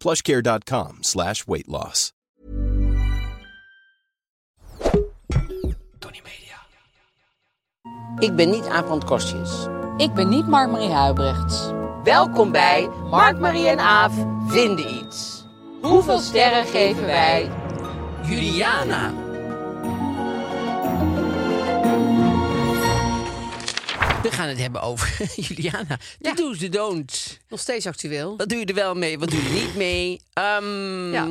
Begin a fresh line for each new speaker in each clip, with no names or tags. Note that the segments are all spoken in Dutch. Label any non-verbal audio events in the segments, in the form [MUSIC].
plushcare.com slash weight loss.
Ik ben niet Aap Kostjes.
Ik ben niet Mark-Marie Huibrechts.
Welkom bij Mark, Marie en Aaf vinden iets. Hoeveel sterren geven wij Juliana? We gaan het hebben over [LAUGHS] Juliana. De do's, de don'ts.
Nog steeds actueel.
Wat doe je er wel mee, wat doe je niet mee? Ehm,
Ja.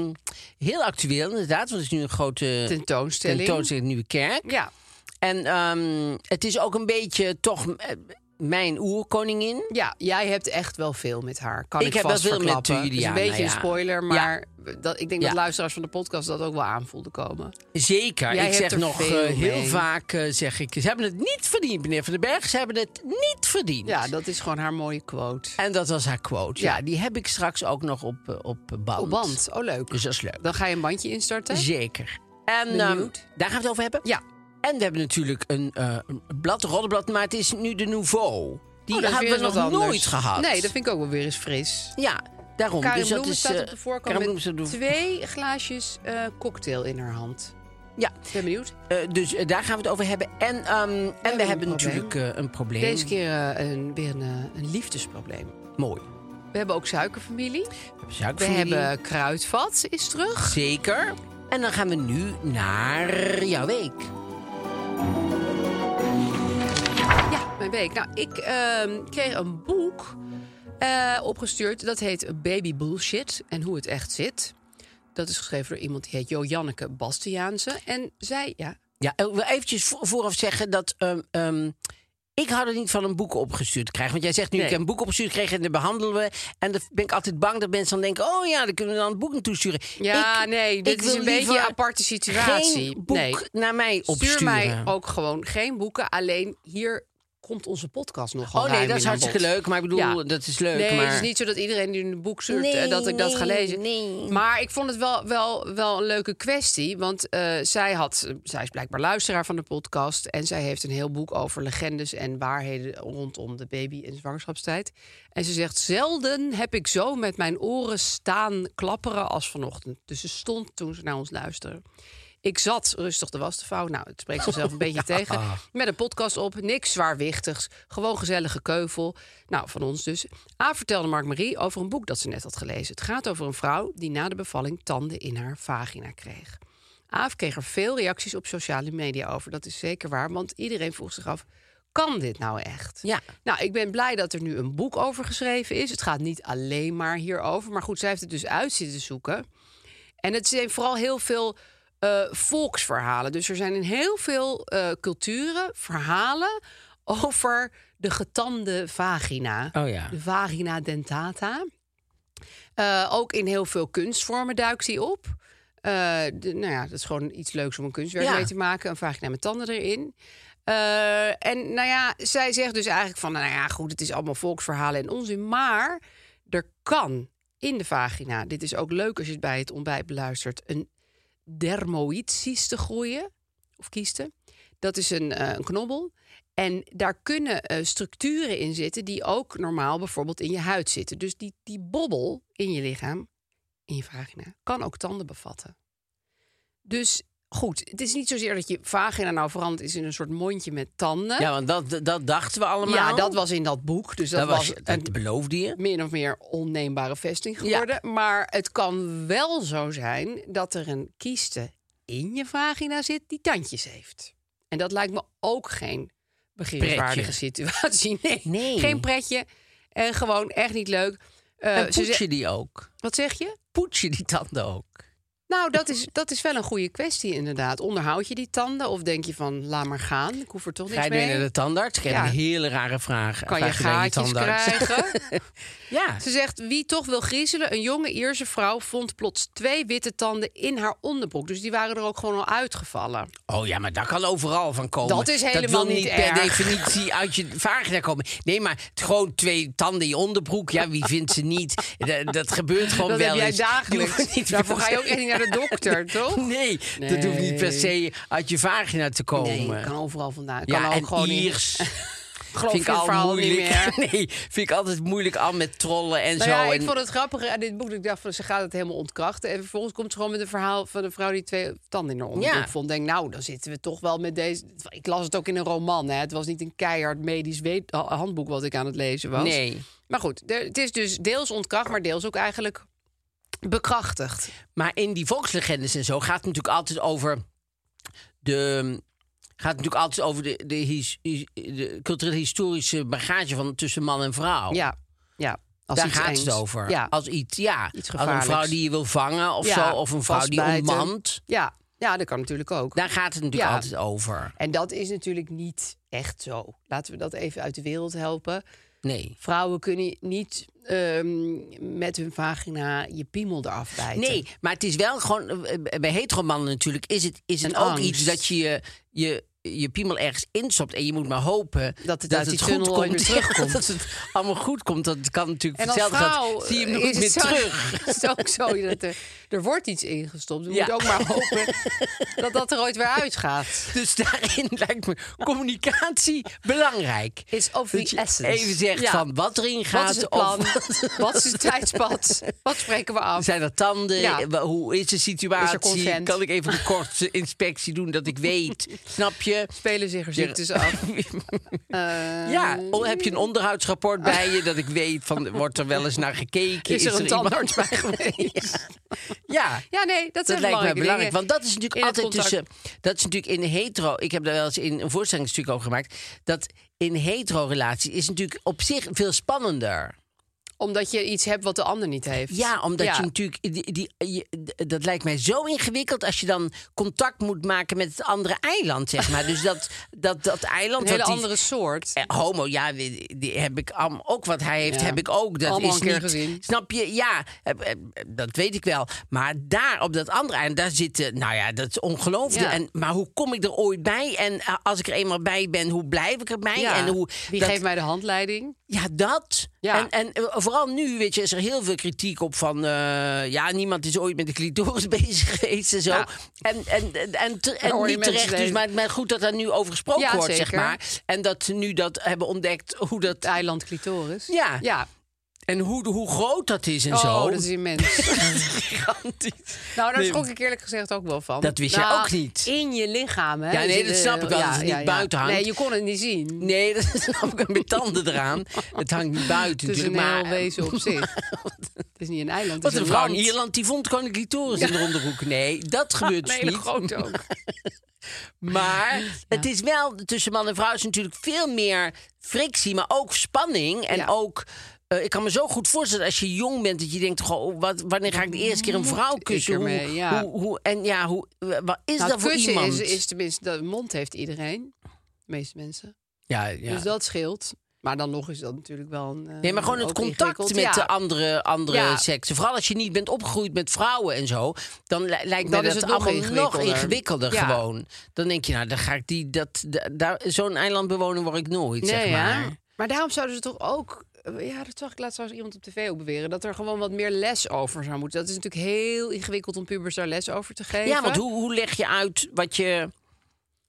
Heel actueel inderdaad, want het is nu een grote
Tentoonstelling.
tentoonstelling in de Nieuwe Kerk.
Ja.
En ehm, het is ook een beetje toch eh, mijn oerkoningin.
ja, jij hebt echt wel veel met haar. Kan
Ik
ik,
heb wel
vast
veel met
verklappen. Het is
Juliana,
een
ja.
beetje een spoiler, maar dat, ik denk
Ja.
dat luisteraars van de podcast dat ook wel aan voelden komen.
Zeker.
Jij
ik
hebt
zeg
er
nog eh,
veel
heel
mee.
vaak, eh, zeg ik, ze hebben het niet verdiend, meneer Van den Berg. Ze hebben het niet verdiend.
Ja, dat is gewoon haar mooie quote.
En dat was haar quote. Ja,
Ja.
die heb ik straks ook nog op, eh, op band.
Oh, band. Oh, leuk.
Dus dat is leuk.
Dan ga je een bandje instarten.
Zeker. En ehm,
Benieuwd.
daar gaan we het over hebben.
Ja.
En we hebben natuurlijk een, eh, een blad, een roddelblad, maar het is nu de Nouveau. Die
Oh, dat is
hebben
weer
we nog
eens wat
nooit
anders.
gehad.
Nee, dat vind ik ook wel weer eens fris.
Ja, daarom.
Karin
dus dat
Bloemen
is,
staat
eh,
op de voorkant
Karin Bloemen
met
staat op de-
twee glaasjes eh, cocktail in haar hand.
Ja,
Ik ben benieuwd.
eh, dus eh, daar gaan we het over hebben. En, ehm, en
hebben
we hebben
een probleem.
natuurlijk eh, een probleem.
Deze keer eh, een, weer een, eh, een liefdesprobleem.
Mooi.
We hebben ook suikerfamilie. We
Suikerfamilie.
hebben kruidvat is terug.
Zeker. En dan gaan we nu naar jouw week.
Ja, mijn week. Nou, ik ehm, kreeg een boek eh, opgestuurd. Dat heet Baby Bullshit en hoe het echt zit. Dat is geschreven door iemand die heet Jo Janneke Bastiaanse. En zij, ja,
Ja, ik wil eventjes vo- vooraf zeggen dat... ehm, ehm, ik hou er niet van een boek opgestuurd te krijgen. Want jij zegt nu,
Nee.
ik heb een boek opgestuurd gekregen en dat behandelen we. En dan ben ik altijd bang dat mensen dan denken... oh ja, dan kunnen we dan een boek naartoe sturen.
Ja,
Ik-
nee, dit
ik
is
wil
een beetje
liever
een aparte situatie.
geen boek
Nee.
naar mij opsturen.
stuur mij ook gewoon geen boeken. Alleen hier komt onze podcast nog
Oh nee, dat is hartstikke leuk. Maar ik bedoel,
Ja.
dat is leuk.
Nee,
maar...
het is niet zo dat iedereen die een boek stuurt eh,
Nee,
dat ik dat ga
nee,
lezen.
nee.
Maar ik vond het wel, wel, wel een leuke kwestie. Want eh, zij, had, zij is blijkbaar luisteraar van de podcast. En zij heeft een heel boek over legendes en waarheden rondom de baby- en zwangerschapstijd. En ze zegt: Zelden heb ik zo met mijn oren staan klapperen als vanochtend. Dus ze stond toen ze naar ons luisterde. Ik zat rustig de was te vouwen. Nou, het spreekt zichzelf een beetje tegen. Met een podcast op, niks zwaarwichtigs. Gewoon gezellige keuvel. Nou, van ons dus. A vertelde Mark Marie over een boek dat ze net had gelezen. Het gaat over een vrouw die na de bevalling tanden in haar vagina kreeg. Aaf kreeg er veel reacties op sociale media over. Dat is zeker waar, want iedereen vroeg zich af... kan dit nou echt?
Ja.
Nou, ik ben blij dat er nu een boek over geschreven is. Het gaat niet alleen maar hierover. Maar goed, zij heeft het dus uit zitten zoeken. En het zijn vooral heel veel eh, volksverhalen. Dus er zijn in heel veel eh, culturen verhalen over de getande vagina.
Oh ja.
De vagina dentata. Eh, ook in heel veel kunstvormen duikt die op. Eh, de- nou ja, dat is gewoon iets leuks om een kunstwerk
Ja.
mee te maken. Een vagina met tanden erin. Eh, en nou ja, zij zegt dus eigenlijk van... nou ja, goed, het is allemaal volksverhalen en onzin. Maar er kan in de vagina... dit is ook leuk als je het bij het ontbijt beluistert... een dermoïdcyste groeien of kiesten. Dat is een, eh, een knobbel. En daar kunnen eh, structuren in zitten die ook normaal bijvoorbeeld in je huid zitten. Dus die, die bobbel in je lichaam, in je vagina, kan ook tanden bevatten. Dus goed, het is niet zozeer dat je vagina nou veranderd is in een soort mondje met tanden.
Ja, want dat, dat dachten we allemaal.
Ja, dat was in dat boek. Dus dat,
dat
was,
was,
een
dat beloofde je.
min of meer onneembare vesting
Ja.
geworden. Maar het kan wel zo zijn dat er een kieste in je vagina zit die tandjes heeft. En dat lijkt me ook geen begripswaardige situatie. [LAUGHS] Nee,
Nee.
geen pretje. En gewoon echt niet leuk. Eh,
en
ze
poets
ze-
je die ook?
Wat zeg je?
Poets je die tanden ook?
Nou, dat is, dat is wel een goede kwestie inderdaad. Onderhoud je die tanden of denk je van laat maar gaan, ik hoef er toch
Ga
niks
je weer
mee?
naar de tandarts? Krijg je
Ja.
een hele rare vraag.
Kan je
Vraag bij
gaatjes
tandarts.
krijgen?
[LAUGHS] ja.
Ze zegt, wie toch wil griezelen, een jonge Ierse vrouw vond plots twee witte tanden in haar onderbroek. Dus die waren er ook gewoon al uitgevallen.
Oh ja, maar dat kan overal van komen.
Dat is helemaal
dat wil
niet
niet per
erg.
definitie uit je vagina komen. Nee, maar t- gewoon twee tanden in je onderbroek. Ja, wie vindt ze niet? Eh, Dat, dat gebeurt gewoon
Dat
wel
heb jij
eens.
dagelijks.
Je hoeft niet
Daarvoor
per
ga je
se- [LAUGHS]
ook echt niet naar de [LAUGHS] dokter, toch?
Nee, dat hoeft niet per se uit je vagina te komen.
kan overal vandaan.
ja,
Kan ook
en
gewoon
[LAUGHS]
in-
Iers.
Geloof
vind ik
je het
al
verhaal niet
moeilijk. [LAUGHS] Nee, vind ik altijd moeilijk al met trollen en
Nou
zo.
ja, ik
en
vond het grappig aan dit boek. dat Ik dacht, van, ze gaat het helemaal ontkrachten. En vervolgens komt ze gewoon met een verhaal van een vrouw die twee tanden in haar onderbroek
Ja.
vond. Denk, nou, dan zitten we toch wel met deze... Ik las het ook in een roman, hè. Het was niet een keihard medisch weet- ha- handboek wat ik aan het lezen was.
Nee.
Maar goed, er- het is dus deels ontkracht, maar deels ook eigenlijk bekrachtigd.
Maar in die volkslegendes en zo gaat het natuurlijk altijd over de. Gaat natuurlijk altijd over de, de, his- his- de culturele historische bagage van tussen man en vrouw.
Ja, ja. Als
Daar
iets
gaat het
engs.
over.
Ja.
Als iets, ja.
Iets
als een vrouw
gevaarlijks.
die je wil vangen of
Ja,
zo. Of een vrouw die
vastbijten.
ontmant.
Ja. ja, dat kan natuurlijk ook.
Daar gaat het natuurlijk
Ja.
altijd over.
En dat is natuurlijk niet echt zo. Laten we dat even uit de wereld helpen.
Nee.
Vrouwen kunnen niet ehm, met hun vagina je piemel eraf bijten.
Nee, maar het is wel gewoon. eh, Bij heteromannen natuurlijk is het, is het
Een
ook
angst.
iets dat je je. je je piemel ergens instopt en je moet maar hopen
uit die
goed
tunnel ooit
komt. [LAUGHS]
weer terugkomt.
dat het allemaal goed komt. Dat kan natuurlijk
En als
hetzelfde gaat,
[LAUGHS] vrouw
zie je hem
eh,
nooit
is
meer
het zo-
terug.
[LAUGHS] is het ook zo dat er, er wordt iets ingestopt. Je
Ja.
moet ook maar hopen dat dat er ooit weer uitgaat.
Dus daarin [LAUGHS] lijkt me communicatie belangrijk.
Is of
Dat
the
je
essence.
Even zegt
Ja.
van wat erin gaat.
Wat is het
of
plan? [LAUGHS] Wat is het tijdspad? Wat spreken we af?
[LAUGHS] Zijn er tanden? Eh,
Ja.
Wa- Hoe is de
Is er
situatie?
consent?
kan ik even een korte inspectie doen dat ik
[LAUGHS]
weet? Snap je?
Spelen zich er
[LAUGHS]
ziektes af.
Ja, oh, heb je een onderhoudsrapport bij je dat ik weet van wordt er wel eens naar gekeken?
Is er een
iemand-
tandarts
[LAUGHS]
bij geweest?
Ja.
Ja, nee, dat,
Dat
zijn
lijkt mij
belangrijke
belangrijk,
dingen.
want dat is natuurlijk
In het
altijd tussen.
contact.
Dat is natuurlijk in hetero. Ik heb daar wel eens in een voorstellingsstuk over gemaakt. Dat in hetero-relatie is natuurlijk op zich veel spannender.
Omdat je iets hebt wat de ander niet heeft.
Ja, omdat
Ja.
je natuurlijk. Die, die, je- d- dat lijkt mij zo ingewikkeld als je dan contact moet maken met het andere eiland, zeg maar. Dus dat, dat, dat eiland.
Een hele
wat die-
andere soort.
eh, homo, ja, die, die heb ik am- ook wat hij heeft,
Ja.
heb ik ook. Dat
Allemaal
is
een keer
niet,
gezien.
Snap je? Ja, eh, eh, dat weet ik wel. Maar daar op dat andere eind, daar zitten, nou ja, dat is ongelooflijk.
Ja.
En Maar hoe kom ik er ooit bij? En eh, als ik er eenmaal bij ben, hoe blijf ik erbij?
Ja.
En hoe,
Wie
dat-
geeft mij de handleiding?
ja, dat.
Ja.
En, en eh, vooral nu, weet je, is er heel veel kritiek op van... eh, ja, niemand is ooit met de clitoris [LAUGHS] bezig geweest en zo.
Ja.
En, en, en, en, te-
Dan
en
hoor je
niet
mensen
terecht, dus
zeggen.
maar, maar goed dat daar nu over gesproken
Ja,
wordt, zeg
zeker.
maar. En dat ze nu dat hebben ontdekt, hoe
Het
dat...
eiland clitoris.
Ja.
ja.
En hoe, hoe groot dat is en
Oh,
zo.
dat is
[LAUGHS]
immens.
gigantisch.
nou, daar
Nee.
schrok ik eerlijk gezegd ook wel van.
Dat wist jij
Nou,
ook niet.
In je lichaam, hè?
Ja, nee,
Dus,
dat
eh,
snap ik wel, dat het niet buiten hangt.
Nee, je kon het niet zien.
Nee, [LAUGHS] dat snap ik met tanden eraan. Het hangt niet buiten
Het is een
natuurlijk, maar... eh,
heel wezen
[LAUGHS]
op zich. Het is niet een eiland, het
Wat
is
een
een
vrouw
land.
in Ierland, die vond gewoon een clitoris in de onderbroek. Nee, dat gebeurt
[LAUGHS] Een
dus
hele
niet.
grote ook.
Maar het is wel tussen man en vrouw is natuurlijk veel meer frictie, maar ook spanning. En
Ja.
ook, eh, ik kan me zo goed voorstellen als je jong bent, dat je denkt: goh, oh, wat, wanneer ga ik de eerste keer een vrouw kussen? Hoe,
ermee? Ja.
hoe, hoe- en ja, hoe, eh, wat [LAUGHS] is
Nou,
dat voor
kussen
iemand?
is, is tenminste, de mond heeft iedereen. De meeste mensen.
ja, ja.
Dus dat scheelt. Maar dan nog is dat natuurlijk wel een... eh,
Nee, maar gewoon het
ook
contact
ingewikkeld.
met
Ja.
de andere, andere
Ja.
seksen. Vooral als je niet bent opgegroeid met vrouwen en zo. Dan li- lijkt me
Dan
dat
is het nog
allemaal nog
ingewikkelder.
ingewikkelder
Ja.
gewoon. Dan denk je, nou, dan ga ik die, dat, da- daar, zo'n eilandbewoner word ik nooit, zeg
Nee,
maar.
ja. Maar daarom zouden ze toch ook... eh, Ja, dat zag ik laatst trouwens iemand op tv ook beweren. Dat er gewoon wat meer les over zou moeten. Dat is natuurlijk heel ingewikkeld om pubers daar les over te geven.
Ja, want hoe, hoe leg je uit wat je...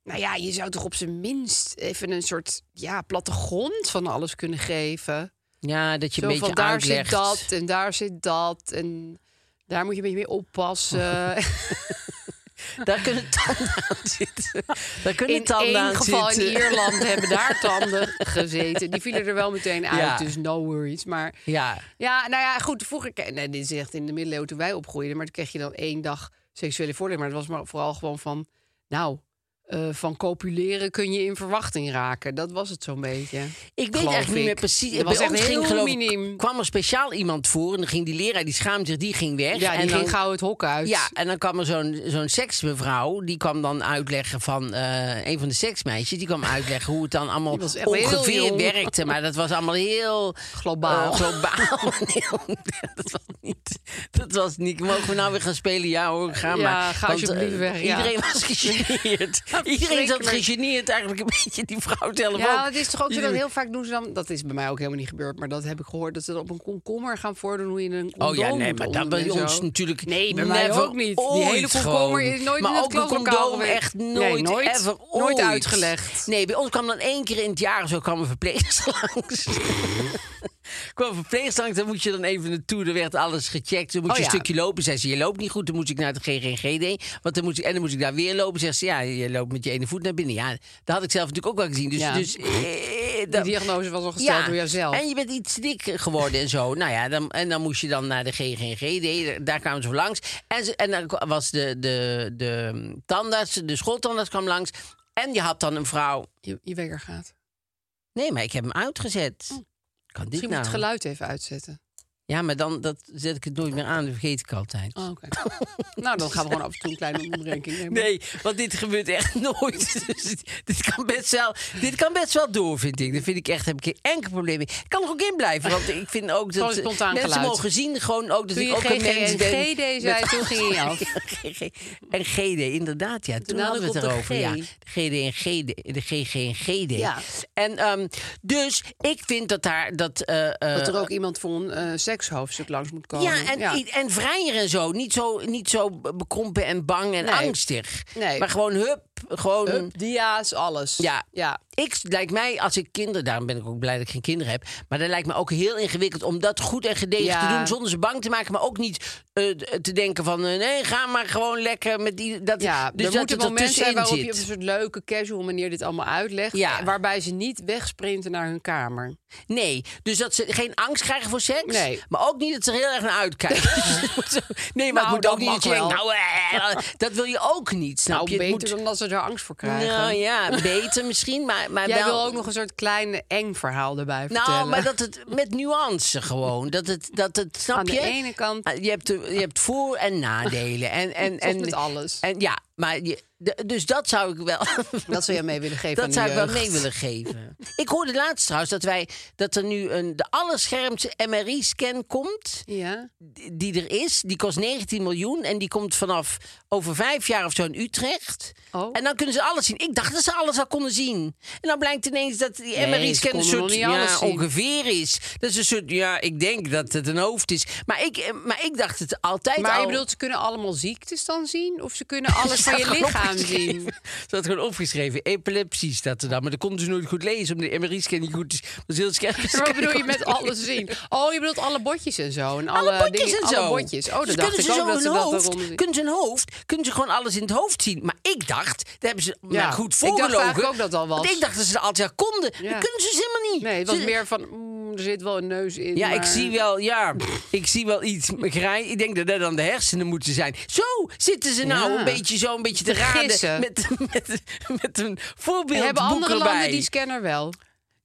Nou ja, je zou toch op zijn minst even een soort ja, plattegrond van alles kunnen geven.
Ja, dat je
Zo
een beetje
van daar
uitlegt.
zit dat
[LAUGHS]
en daar zit dat en daar moet je een beetje mee oppassen.
[LAUGHS] Daar kunnen tanden aan zitten. Daar kunnen
In
tanden aan
één geval
zitten.
in
[LAUGHS]
Ierland hebben daar tanden gezeten. Die vielen er wel meteen uit,
Ja.
dus no worries. Maar
Ja.
Ja, nou ja, goed. Vroeger, ke- nee, dit is echt in de middeleeuwen toen wij opgroeiden. Maar toen kreeg je dan één dag seksuele voorlichting. Maar het was maar vooral gewoon van, nou, eh, van copuleren kun je in verwachting raken. Dat was het zo'n beetje.
Ik weet
Geloof
eigenlijk niet
ik.
meer precies.
Dat was
Bij
echt
ons ging,
heel
geloof ik,
miniem.
kwam er speciaal iemand voor en dan ging die leraar, die schaamde zich, die ging weg.
Ja, die
en
ging
dan,
gauw het hok uit.
Ja, en dan kwam er zo'n zo'n seksmevrouw, die kwam dan uitleggen van eh, een van de seksmeisjes, die kwam uitleggen hoe het dan allemaal
Die was echt
ongeveer
heel jong.
werkte. Maar dat was allemaal heel
Globaal.
eh, globaal. [LAUGHS] Nee, dat was niet. Dat was niet. Mogen we nou weer gaan spelen? Ja hoor, ga
Ja,
maar.
ga
Want,
alsjeblieft
eh,
weg, ja.
Iedereen
[LAUGHS]
was gegeneerd. iedereen zat
verschrikkelijk.
gegeneerd eigenlijk een beetje die vrouw zelf ook.
Ja, het is toch ook zo dat
Iedereen-
heel vaak doen ze dan... Dat is bij mij ook helemaal niet gebeurd, maar dat heb ik gehoord... dat ze dan op een komkommer gaan voordoen hoe je een condoom
Oh ja, nee,
moet
maar dat
omdoen
bij
en
ons
zo.
natuurlijk
Nee, bij mij
never
ook niet. Die hele
ooit gewoon.
komkommer is nooit
maar
in het
ook een
klaslokaal
condoom
geweest.
echt
Nee,
nooit,
nooit.
ever
Nooit
ooit.
uitgelegd.
Nee, bij ons kwam dan één keer in het jaar of zo kwam een verpleegster [LAUGHS] langs. kwam een verpleegster langs, dan moest je dan even naartoe. Er werd alles gecheckt. Dan moest
Oh
je een
ja.
stukje lopen. Zei ze, je loopt niet goed. Dan moest ik naar het GGGD. Want dan moest ik, en dan moest ik daar weer lopen. Zegt ze, ja, je loopt met je ene voet naar binnen. Ja, dat had ik zelf natuurlijk ook wel gezien. Dus,
Ja.
dus eh,
Die
dat-
diagnose was al gesteld door jouzelf.
en je bent iets dik geworden en zo. [LAUGHS] Nou ja, dan, en dan moest je dan naar de GGGD. Daar- Daar kwamen ze voor langs. En, ze- en dan kwa- was de, de, de tandarts, de schooltandarts kwam langs. En je had dan een vrouw...
Je, je wekker gaat.
Nee, maar ik heb hem uitgezet. Kan dit
Hm. Misschien
nou?
moet het geluid even uitzetten.
Ja, maar dan dat zet ik het nooit meer aan. Dat vergeet ik altijd.
Oh,
[LAUGHS]
oké. nou, dan gaan we gewoon af en toe een kleine onderbreking nemen.
Nee, want dit gebeurt echt [LAUGHS] nooit. Dus dit, dit kan best wel, dit kan best wel door, vind ik. Dat vind ik echt, heb ik geen enkel probleem mee. Ik kan er ook in blijven, want ik vind ook dat
Gewoon spontaan
mensen
geluid.
mogen zien gewoon ook dat
Toen
ik
je
ook een mens
GG
ben.
en GD zei,
met-
toen ging je
[LAUGHS]
af. Nou,
Ja, GG en GD, inderdaad, ja. Toen,
Toen
hadden we
had
het
ik op
erover,
de
ja.
G.
De GD en GD, de GG en GD.
Ja.
En ehm, dus ik vind dat daar dat... eh, eh,
Dat er ook iemand voor een eh, sekshoofdstuk langs moet komen.
ja, en, en vrijer en zo. Niet zo, niet zo bekrompen en bang en
Nee.
angstig.
Nee.
Maar gewoon hup, gewoon...
Hup, dia's, alles.
Ja.
ja.
Ik lijkt mij, als ik kinderen, daarom ben ik ook blij dat ik geen kinderen heb. Maar dat lijkt me ook heel ingewikkeld om dat goed en gedegen
Ja.
te doen. Zonder ze bang te maken, maar ook niet eh, te denken van eh, nee, ga maar gewoon lekker met die. Dat,
ja
dus
er
dat
moeten
het
momenten zijn
ertussenin
waarop je op een
zit.
soort leuke, casual manier dit allemaal uitlegt. eh,
Ja. Nou,
Waarbij ze niet wegsprinten naar hun kamer.
Nee, dus dat ze geen angst krijgen voor seks.
Nee.
Maar ook niet dat ze er heel erg naar
[LAUGHS]
uitkijken. [LAUGHS] nee, maar
Nou,
het moet
dat
ook niet
mag
dat je denkt,
wel.
nou, eh, dat wil je ook niet. Snap
nou,
je? Het
beter
moet-
dan dat ze er angst voor krijgen.
nou ja, beter misschien, maar, maar
Jij
wel...
wil ook nog een soort klein eng verhaal erbij vertellen.
Nou, maar dat het met nuance gewoon. Dat het, dat het snap
Aan de
je?
ene kant-
Ah, Je hebt, de- je hebt voor- en nadelen. En,
[LAUGHS]
en,
Zoals
en,
met alles.
En, ja, maar je, de- dus dat zou ik wel.
[LAUGHS] Dat zou je mee willen geven
[LAUGHS]
aan
Dat
de
zou ik wel
jeugd.
mee willen geven. Ik hoorde laatst trouwens dat, wij, dat er nu een, de allerschermste MRI-scan komt.
Ja.
die- Die er is. Die kost 19 miljoen. En die komt vanaf over vijf jaar of zo in Utrecht.
Oh.
En dan kunnen ze alles zien. Ik dacht dat ze alles al konden zien. En dan blijkt ineens dat die
Nee, ze
MRI-scan een
konden nog
soort
niet alles
ja,
zien.
ongeveer is. Dat is een soort, ja, ik denk dat het een hoofd is. Maar ik, eh, maar ik dacht het altijd
Maar
al.
je bedoelt, ze kunnen allemaal ziektes dan zien? Of ze
[LAUGHS]
kunnen alles van je
Staat gewoon
lichaam
opgeschreven.
zien?
[LAUGHS] Ze had gewoon opgeschreven. Epilepsie staat er dan. Maar dat konden ze nooit goed lezen, omdat de MRI-scan niet goed is. Dat is heel scherp.
Maar [LAUGHS] wat bedoel je met alles zien? Oh, je bedoelt alle botjes en zo. En alle,
alle botjes
dingen,
en zo.
Alle botjes. Oh, dat
Dus
dacht
kunnen
ik
ze zo
ook
hun
dat ze dat
hoofd,
eronder zien.
Kunnen ze hun hoofd, kunnen ze gewoon alles in het hoofd zien. Maar ik dacht, daar hebben ze maar goed
ik dacht
voorgelogen.
eigenlijk ook dat al was.
Want ik dacht dat ze dat altijd al konden. Dat kunnen ze dus helemaal niet.
Nee, het was
Ze-
meer van, mm, er zit wel een neus in.
Ja, ik
maar-
zie wel, ja, ik zie wel iets grij. Ik denk dat dat dan de hersenen moeten zijn. Zo zitten ze nou
Ja.
een beetje zo een beetje te,
Te
raden
gissen.
met, [LAUGHS] met, met een voorbeeld.
Hebben andere
erbij.
landen die scanner wel?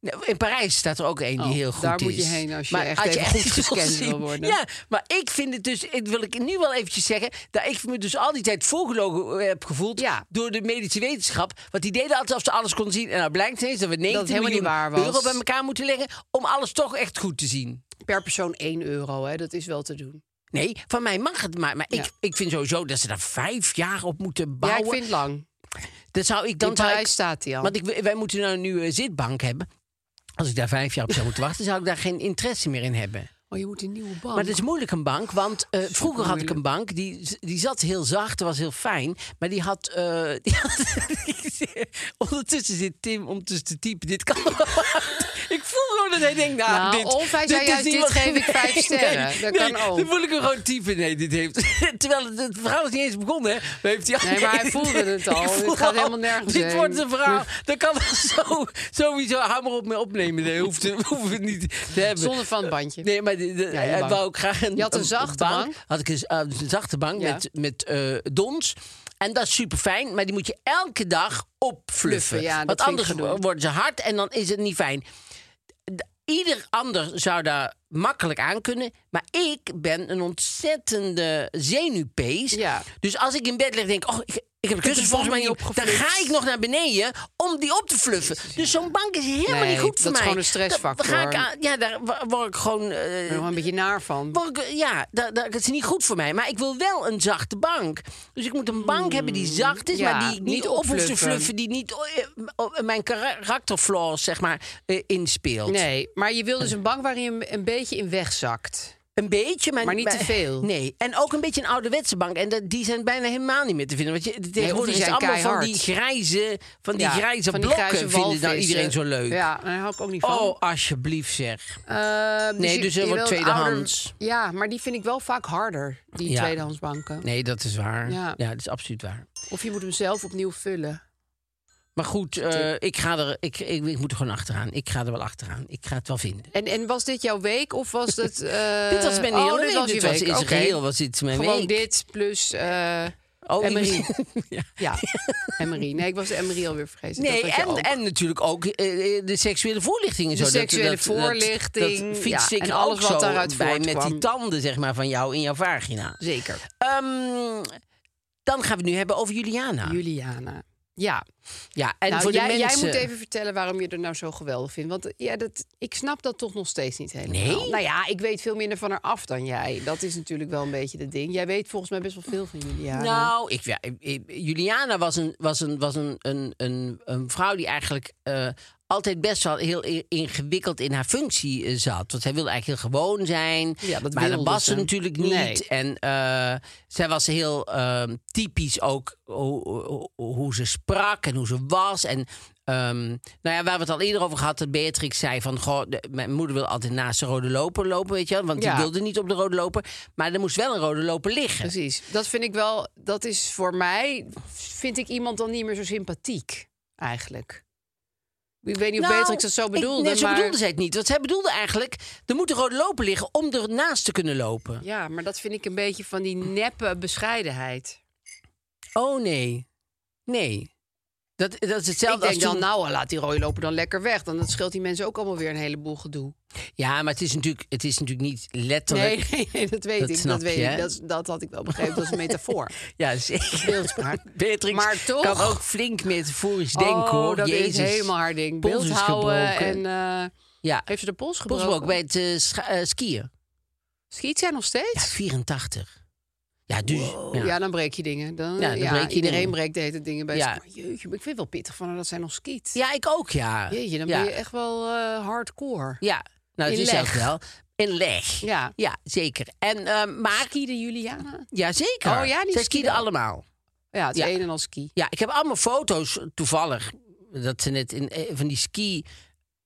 Nou, In Parijs staat er ook één die
Oh,
heel goed
daar
is.
moet je heen als je echt
[LAUGHS]
even goed
wil
gescand
zien.
wil worden.
Ja, maar ik vind het dus, ik wil ik nu wel eventjes zeggen... dat ik me dus al die tijd voorgelogen eh, heb gevoeld...
Ja.
door de medische wetenschap. Want die deden altijd of ze alles konden zien. En nou blijkt ineens dat we 19
helemaal niet
miljoen
waar was.
euro bij elkaar moeten leggen... om alles toch echt goed te zien.
Per persoon 1 euro, hè? dat is wel te doen.
Nee, van mij mag het maar. Maar
Ja.
ik, ik vind sowieso dat ze daar vijf jaar op moeten
Ja,
bouwen.
ik vind het lang.
dat zou ik
Dan
dan
In
zou ik-
Parijs staat die al.
Want ik, wij moeten nou een nieuwe zitbank hebben. Als ik daar vijf jaar op zou moeten wachten, zou ik daar geen interesse meer in hebben.
Oh, je moet een nieuwe bank.
Maar het is moeilijk een bank, want eh, vroeger had ik
moeilijk.
een bank die, die zat heel zacht, dat was heel fijn, maar die had, eh, [LAUGHS] die [LAUGHS] dus had- ondertussen zit Tim om te typen. Dit kan wel. [LAUGHS] ik voel gewoon dat hij denkt, nou,
Nou,
dit,
of hij
dit
zei
is
juist,
niet
dit
wat-
geef ik vijf sterren. Dat kan ook.
Dan voel ik hem gewoon typen, nee, dit heeft... [LAUGHS] Terwijl het, het verhaal is niet eens begonnen, hè. Maar heeft hij al-
Nee, maar hij voelde het
[LAUGHS]
al.
Ik
Dit
voel
gaat helemaal nergens
Dit
heen.
wordt een verhaal. Dat kan wel [LAUGHS] zo, sowieso. Hou maar op mee opnemen. Dat hoeft, [LAUGHS] hoeven we het niet te hebben.
Zonder van het bandje.
Nee, maar de, de,
heel
hij
lang.
wou ook graag een,
Je had een zachte bank.
Had ik een, z- eh, een zachte bank
Ja.
met, met eh, dons. En dat is super fijn, maar die moet je elke dag opfluffen.
Fluffen, ja, dat
Want
vind ik
anders
gedoe.
worden ze hard en dan is het niet fijn. D- Ieder ander zou daar makkelijk aan kunnen. Maar ik ben een ontzettende zenuwpees.
Ja.
Dus als ik in bed lig en denk... Oh, ik, ik heb de kussens
de
volgens mij
bank
niet
niet
op. Dan
opgefluft.
ga ik nog naar beneden om die op te fluffen. Dus zo'n bank is helemaal
Nee,
niet goed voor
dat is
mij.
gewoon een stressfactor.
Dan ga ik aan- Ah, ja, daar wa- word ik gewoon... eh,
Ik ben er wel een beetje naar van.
word ik- eh, ja, dat, dat is niet goed voor mij. Maar ik wil wel een zachte bank. Dus ik moet een bank hebben die zacht is,
Mm, ja,
maar die ik niet,
niet
op hoef te
opfluffen.
fluffen. Die niet eh, op mijn karakterflaws, zeg maar, eh, inspeelt.
Nee, maar je wil dus een bank waarin je een- een beetje in wegzakt.
Een beetje, maar,
Maar niet te veel.
Nee, en ook een beetje een ouderwetse bank. En dat, die zijn bijna helemaal niet meer te vinden. Want je, tegenwoordig is
zijn
het allemaal van
keihard.
die grijze, van die
Ja,
grijze
van die
blokken
grijze
vinden nou
walvissen.
iedereen zo leuk.
Ja, daar hou ik ook niet van.
Oh, alsjeblieft zeg.
Eh,
Nee,
je-
dus er
je
wordt
wil een
tweedehands.
ouder- Ja, maar die vind ik wel vaak harder, die
Ja.
tweedehandsbanken.
Nee, dat is waar.
Ja.
ja, dat is absoluut waar.
Of je moet hem zelf opnieuw vullen.
Maar goed, eh, ik, ga er, ik, ik, ik moet er gewoon achteraan. Ik ga er wel achteraan. Ik ga het wel vinden.
En, en was dit jouw week of
[LAUGHS]
was het... eh,
dit was mijn hele
oh, dit
week.
was
dit
je
was
week.
in zijn
Oké.
geheel was dit mijn
Gewoon
week.
dit plus eh
Oh, ik- [LAUGHS]
Emery. [LAUGHS]
Ja.
ja, Emery. Nee, ik was de Emery alweer vergeten. Dat
Nee,
had je
en,
ook.
en natuurlijk ook eh, eh, de seksuele voorlichting en
De
zo. Dat-
seksuele
dat- dat-
voorlichting,
Dat, fiets
ja,
ik
en
er
alles
ook
wat
zo
daaruit
bij met die
voortkwam.
tanden zeg maar, van jou in jouw vagina.
Zeker.
Ehm, dan gaan we het nu hebben over Juliana.
Juliana. Ja,
ja, Ah. en
nou,
voor
jij,
de mensen...
jij moet even vertellen waarom je er nou zo geweldig vindt. Want eh, ja, dat, ik snap dat toch nog steeds niet helemaal.
Nee?
Nou ja, ik weet veel minder van haar af dan jij. Dat is natuurlijk wel een beetje het ding. Jij weet volgens mij best wel veel van Juliana.
Nou, ik, ja, ik- ik- Juliana was een, was een, was een, een, een, een vrouw die eigenlijk eh, altijd best wel heel i- ingewikkeld in haar functie eh, zat. Want zij wilde eigenlijk heel gewoon zijn.
Ja, dat
maar dat
wilde
was ze
ze.
natuurlijk niet.
Nee.
En eh, zij was heel ehm, typisch ook hoe, hoe- hoe ze sprak en hoe ze was. En ehm, nou ja, waar we het al eerder over gehad, dat Beatrix zei van... Goh, de- mijn moeder wil altijd naast de rode loper lopen, weet je wel. Want
Ja.
die wilde niet op de rode loper. Maar er moest wel een rode loper liggen.
Precies. Dat vind ik wel, dat is voor mij, vind ik iemand dan niet meer zo sympathiek eigenlijk. Ik weet niet of
Nou,
Beatrix dat zo
ik-
bedoelde,
nee, zo
maar...
bedoelde zij het niet. Want zij bedoelde eigenlijk, er moet een rode loper liggen om ernaast te kunnen lopen.
Ja, maar dat vind ik een beetje van die neppe bescheidenheid.
Oh nee, nee. Dat, dat is hetzelfde
ik denk
als
dan,
toen-
nou, laat die rode loper dan lekker weg. Dan dat scheelt die mensen ook allemaal weer een heleboel gedoe.
Ja, maar het is natuurlijk, het is natuurlijk niet letterlijk...
[LAUGHS] Nee, nee, nee, dat weet
Dat
ik.
snap
Dat, weet
je, hè?
ik. Dat, is- dat had ik wel begrepen. Dat is een
[LAUGHS]
metafoor.
[LAUGHS] Ja,
[LAUGHS]
zeker.
Beeldspraak.
[LAUGHS] Beatrix
Maar toch-
kan ook flink metaforisch denken,
oh,
hoor.
dat
Jezus.
is helemaal haar ding.
Pols is
Beeld houden en...
gebroken.
eh,
Ja,
heeft ze de pols
pols
gebroken?
gebroken bij het eh, scha- eh, skiën.
Schiet zij nog
Ja,
steeds?
84. Ja, dus...
Ja. dan breek je dingen. Dan,
Ja,
ja,
dan breek je
iedereen
dingen.
breekt de hele tijd dingen bij.
Ja.
Ja. jeetje, maar ik vind het wel pittig van haar dat zij nog skiet.
Ja, ik ook, ja.
Jeetje, dan
ja.
ben je echt wel eh, hardcore.
Ja, nou, het
In
is ook
leg.
wel. In leg.
Ja.
Ja, zeker. En, eh, maar,
Skieden Juliana?
ja, zeker.
Oh ja, die
Zij skieden
skieden ook.
allemaal.
Ja, het
Ja.
een en al ski.
Ja, ik heb allemaal foto's toevallig. Dat ze net in eh, van die ski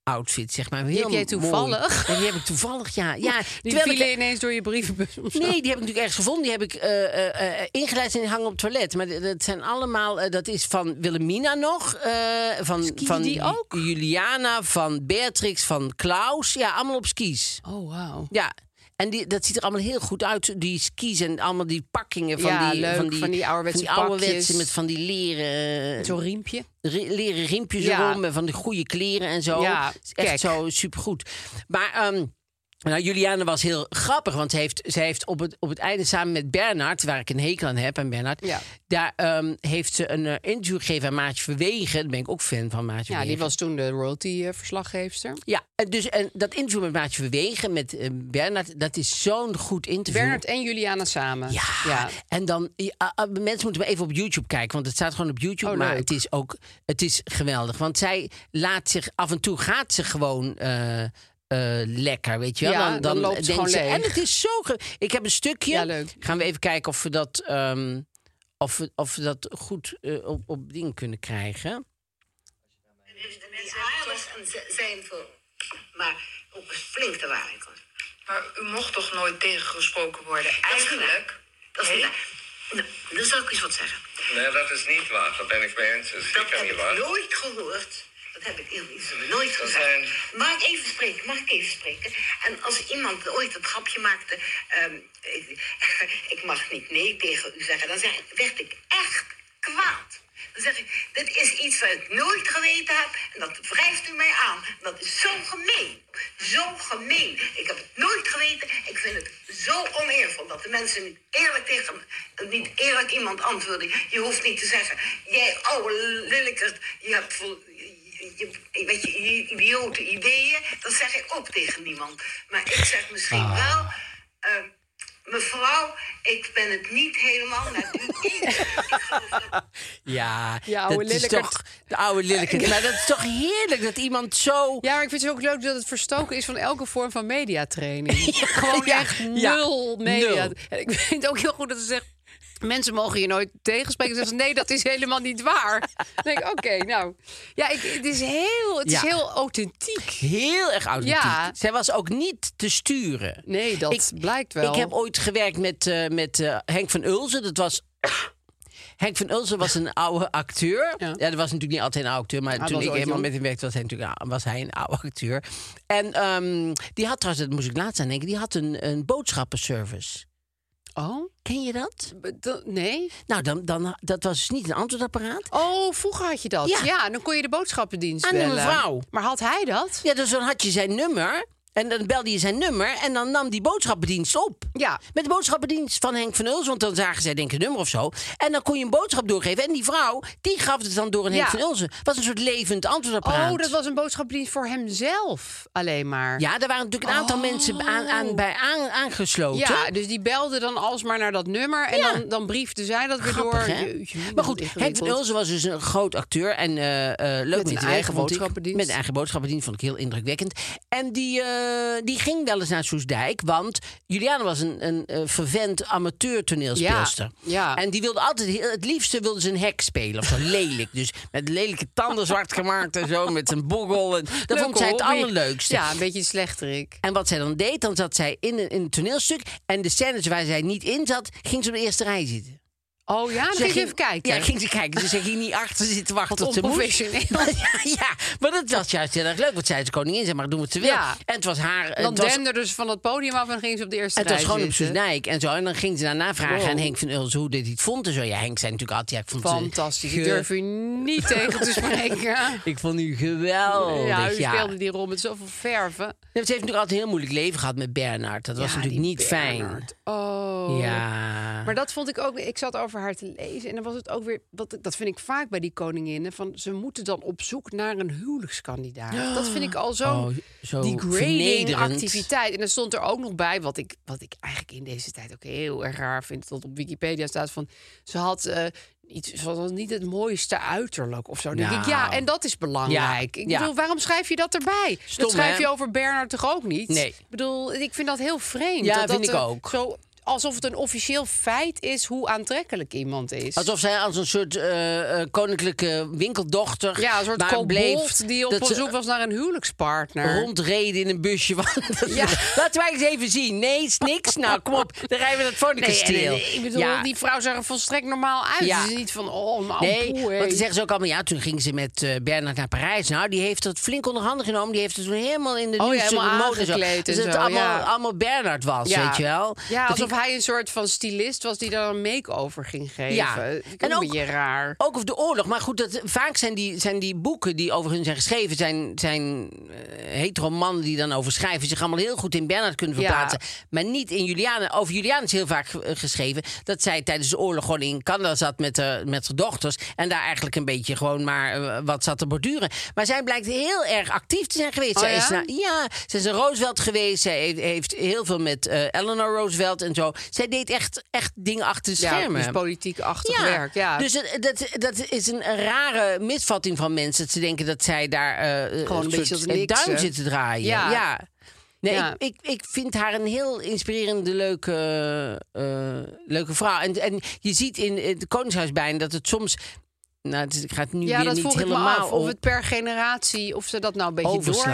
outfit, zeg maar. Heel
heb jij
mooi.
toevallig?
Ja, die heb ik toevallig, ja. ja
Die
terwijl ik-
vielen ineens door je brievenbus. of zo.
Nee, die heb ik natuurlijk ergens gevonden. Die heb ik eh, eh, eh, ingelijst en die hangen op het toilet. Maar d- dat zijn allemaal... eh, dat is van Wilhelmina nog. eh, van,
Skiën
van
die ook?
Juliana, van Beatrix, van Klaus. Ja, allemaal op skis.
Oh, wauw.
Ja, en die, dat ziet er allemaal heel goed uit. Die skis en allemaal die pakkingen van,
Ja,
die,
leuk,
van die
van die ouderwetse
van die ouderwetse
pakjes.
met van die leren, eh,
Zo'n riempje.
ri- leren riempjes
Ja.
erom en van die goede kleren en zo.
Ja,
Het is echt
kijk.
zo supergoed. Maar ehm, nou, Juliane was heel grappig, want ze heeft, ze heeft op, het, op het einde samen met Bernard, waar ik een hekel aan heb, en Bernard,
Ja.
daar ehm, heeft ze een eh, interview gegeven aan Maatje Verwegen. Daar ben ik ook fan van Maatje
Ja, die
Verwegen.
was toen de royalty-verslaggeefster.
Ja, en dus en dat interview met Maatje Verwegen, met eh, Bernard, dat is zo'n goed interview.
Bernard en Juliana samen.
Ja, en dan... ja, ah, mensen moeten maar even op YouTube kijken, want het staat gewoon op YouTube.
Oh,
maar
leuk.
het is ook... Het is geweldig, want zij laat zich... Af en toe gaat ze gewoon... eh, eh, lekker, weet je wel.
Ja, dan loopt ze gewoon leeg.
En het is zo... ge- Ik heb een stukje.
Ja, leuk.
Gaan we even kijken of we dat, ehm, of we, of we dat goed eh, op, op ding kunnen krijgen.
Is de mensen ja, alles een z- zijn voor. maar ook flink de waarheid was.
Maar u mocht toch nooit tegengesproken worden?
Dat is niet waar.
Eigenlijk.
Dat is niet waar. Nou, dan zal ik u eens wat zeggen.
Nee, dat is niet waar. Dat ben ik mee eens. Dat is
Dat
zeker
heb
niet
ik
waar.
nooit gehoord. Dat heb ik eerlijk gezegd nooit
Dat
gezegd.
zijn-
Mag ik even spreken? Mag ik even spreken? En als iemand ooit dat grapje maakte... ehm, [LAUGHS] ik, ik mag niet nee tegen u zeggen. Dan zeg, ik- werd ik echt kwaad. Dan zeg ik, dit is iets wat ik nooit geweten heb. En dat wrijft u mij aan. En dat is zo gemeen. Zo gemeen. Ik heb het nooit geweten. Ik vind het zo oneervol dat de mensen niet eerlijk tegen me- eh, niet eerlijk iemand antwoorden. Je hoeft niet te zeggen, jij oude lillekert, je hebt vol, je, je- weet je, je idiote ideeën. Dat zeg ik ook tegen niemand. Maar ik zeg misschien wel, eh, mevrouw, ik ben het niet helemaal met u eens. Ik geloof dat
Ja,
Ja, oude
dat is
lillekert.
toch de oude lillekert. Maar dat is toch heerlijk dat iemand zo...
Ja, maar ik vind het ook leuk dat het verstoken is van elke vorm van [LAUGHS] mediatraining. Gewoon
ja,
echt
ja.
nul media.
Nul.
En ik vind ook heel goed dat ze zegt... Mensen mogen je nooit tegenspreken. Ze zeggen, nee, dat is helemaal niet waar. Dan denk ik, oké, nou. Ja, ik, het is heel, het is
Ja.
heel authentiek.
Heel erg authentiek.
Ja.
Zij was ook niet te sturen.
Nee, dat blijkt wel.
Ik heb ooit gewerkt met, eh, met eh, Henk van Ulzen. Dat was... Henk van Ulzen was een oude acteur. Ja.
Ja.
dat was natuurlijk niet altijd een oude acteur. Maar
Hij
toen
was
ik
ooit
helemaal
jong.
met hem werkte, was hij, natuurlijk, ah, was hij een oude acteur. En ehm, die had trouwens, dat moest ik laatst aan denken... die had een, een boodschappenservice.
Oh,
Ken je dat?
dat- nee.
Nou, dan, dan, dat was dus niet een antwoordapparaat.
Oh, vroeger had je dat.
Ja.
Ja, dan kon je de boodschappendienst
Aan de
bellen.
mevrouw.
Maar had hij dat?
Ja, dus dan had je zijn nummer. En dan belde je zijn nummer. En dan nam die boodschappendienst op.
Ja.
Met de boodschappendienst van Henk van Ulzen. Want dan zagen zij denk ik een nummer of zo. En dan kon je een boodschap doorgeven. En die vrouw, die gaf het dan door een Henk
Ja.
van Ulzen. was een soort levend antwoordapparaat.
Oh, dat was een boodschappendienst voor hemzelf alleen maar.
Ja, daar waren natuurlijk een aantal mensen aan, aan, bij aan, aangesloten.
Oh. Ja, dus die belde dan alsmaar naar dat nummer. En
Ja.
dan, dan briefde zij dat weer
Grappig,
door.
hè?
Jeetje, wat
maar goed, Henk van
ingewikkeld.
Ulzen was dus een groot acteur. En eh, eh, leuk
een
mee te werken,
eigen
vond ik.
boodschappendienst.
Met een eigen boodschappendienst, vond ik heel indrukwekkend. En die, eh, die ging wel eens naar Soesdijk. Want Juliana was een, een eh, vervent amateur toneelspeelster.
Ja, ja.
En die wilde altijd, heel- het liefste wilde ze een hek spelen. Of zo [LAUGHS] lelijk. Dus met lelijke tanden zwart gemaakt en zo. Met een boggel. En, dat
Leuke
vond zij het
hobby.
allerleukste.
Ja, een beetje slechterik.
En wat zij dan deed, dan zat zij in een, in een toneelstuk. En de scènes waar zij niet in zat, ging ze op de eerste rij zitten.
Oh ja, dan
Ze
ging ze even kijken.
Ja, ging ze kijken. Dus ze ging niet achter zitten wachten
Wat
tot ze moest.
onprofessioneel.
Maar [LAUGHS] ja, ja, maar dat was juist heel erg leuk. Want zij is koningin, zeg maar, doen wat ze wil.
Ja.
En het was haar... en
dan
het was,
denderde ze van het podium af en ging ze op de eerste
het was
rij
gewoon op
zitten.
Soesdijk en zo. En dan ging ze daarna vragen
Wow.
aan Henk van Ulzen hoe dit hij het vond. En zo. Ja, Henk zei natuurlijk altijd... Ja, ik vond het, eh,
Fantastisch.
ge-
Ik durf u niet tegen te spreken.
Ik vond u geweldig,
ja,
Oh, ja.
u speelde die rol met zoveel verven.
Nee, want Ze heeft natuurlijk altijd een heel moeilijk leven gehad met Bernard. Dat was
Ja,
natuurlijk
die
niet
Bernard. Oh.
fijn. Ja.
Maar dat vond ik ook. Ik zat over haar te lezen. En dan was het ook weer. Wat, dat vind ik vaak bij die koninginnen. Van, ze moeten dan op zoek naar een huwelijkskandidaat. Dat vind ik al zo'n
Oh, zo
degrading
vernederend.
activiteit. En er stond er ook nog bij, wat ik, wat ik eigenlijk in deze tijd ook heel erg raar vind. Dat op Wikipedia staat van. Ze had. eh, Iets, ze had niet het mooiste uiterlijk of zo. Dan Denk ik, ja,
Nou.
en dat is belangrijk.
Ja,
Ik
ja.
bedoel, waarom schrijf je dat erbij?
Stom,
dat schrijf
hè?
je over Bernard toch ook niet?
Nee.
Ik bedoel, ik vind dat heel vreemd.
Ja,
dat dat
vind ik
er
ook.
Zo, alsof het een officieel feit is hoe aantrekkelijk iemand is.
Alsof zij als een soort eh, eh, koninklijke winkeldochter...
ja, een soort
maar
kobold die op
dat ze
zoek was naar een huwelijkspartner.
rondreden in een busje. [LAUGHS] Want dat-
Ja.
Laten wij eens even zien. Nee, is niks. Nou, kom op. Dan rijden we naar het
Nee, en- en-
Vonnenkasteel.
ik bedoel, die vrouw zag er volstrekt normaal uit.
Ja.
Ze is niet van, oh, maar
Nee,
poeh,
want
hé.
dan zeggen ze ook allemaal... Ja, toen ging ze met eh, Bernard naar Parijs. Nou, die heeft dat flink onderhanden genomen. Die heeft het toen helemaal in de
Oh ja,
nieuwste
helemaal
mode. en zo.
aangekleed en
dat het
zo,
allemaal,
ja.
allemaal Bernard was,
Ja.
weet je wel.
Ja,
Dat
alsof
ik-
hij een soort van stylist was die dan een make-over ging geven.
Ja.
Vind ik
En
ook
ook-
een beetje raar.
Ook over de oorlog. Maar goed, dat, vaak zijn die, zijn die boeken die over hun zijn geschreven... zijn, zijn eh, hetero mannen die dan over schrijven... zich allemaal heel goed in Bernard kunnen
Ja.
verplaatsen. Maar niet in Juliana. Over Juliana is heel vaak eh, geschreven... dat zij tijdens de oorlog gewoon in Canada zat met, eh, met haar dochters... en daar eigenlijk een beetje gewoon maar eh, wat zat te borduren. Maar zij blijkt heel erg actief te zijn geweest.
Oh
zij
ja?
is naar- ja, ze is een Roosevelt geweest. Zij heeft, heeft heel veel met eh, Eleanor Roosevelt en zo. Zij deed echt, echt dingen achter de
Ja,
schermen.
dus politiek-achtig werk. Ja.
Dus het- dat, dat is een rare misvatting van mensen. Dat ze denken dat zij daar eh,
Gewoon een
soort
beetje als
een
niks,
duim
hè?
zitten draaien. Ja.
Ja.
Nee,
Ja.
Ik, ik, ik vind haar een heel inspirerende, leuke, eh, leuke vrouw. En, en je ziet in het Koningshuis bijna dat het soms... Nou, het is- ik ga het nu
ja,
weer
dat
niet
vroeg ik me
helemaal
af. Of
op-
het per generatie, of ze dat nou een beetje door...
overslaat.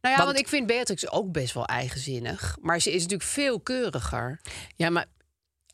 Nou ja, want,
Want-
ik vind Beatrix ook best wel eigenzinnig. Maar ze is natuurlijk veel keuriger.
Ja, maar...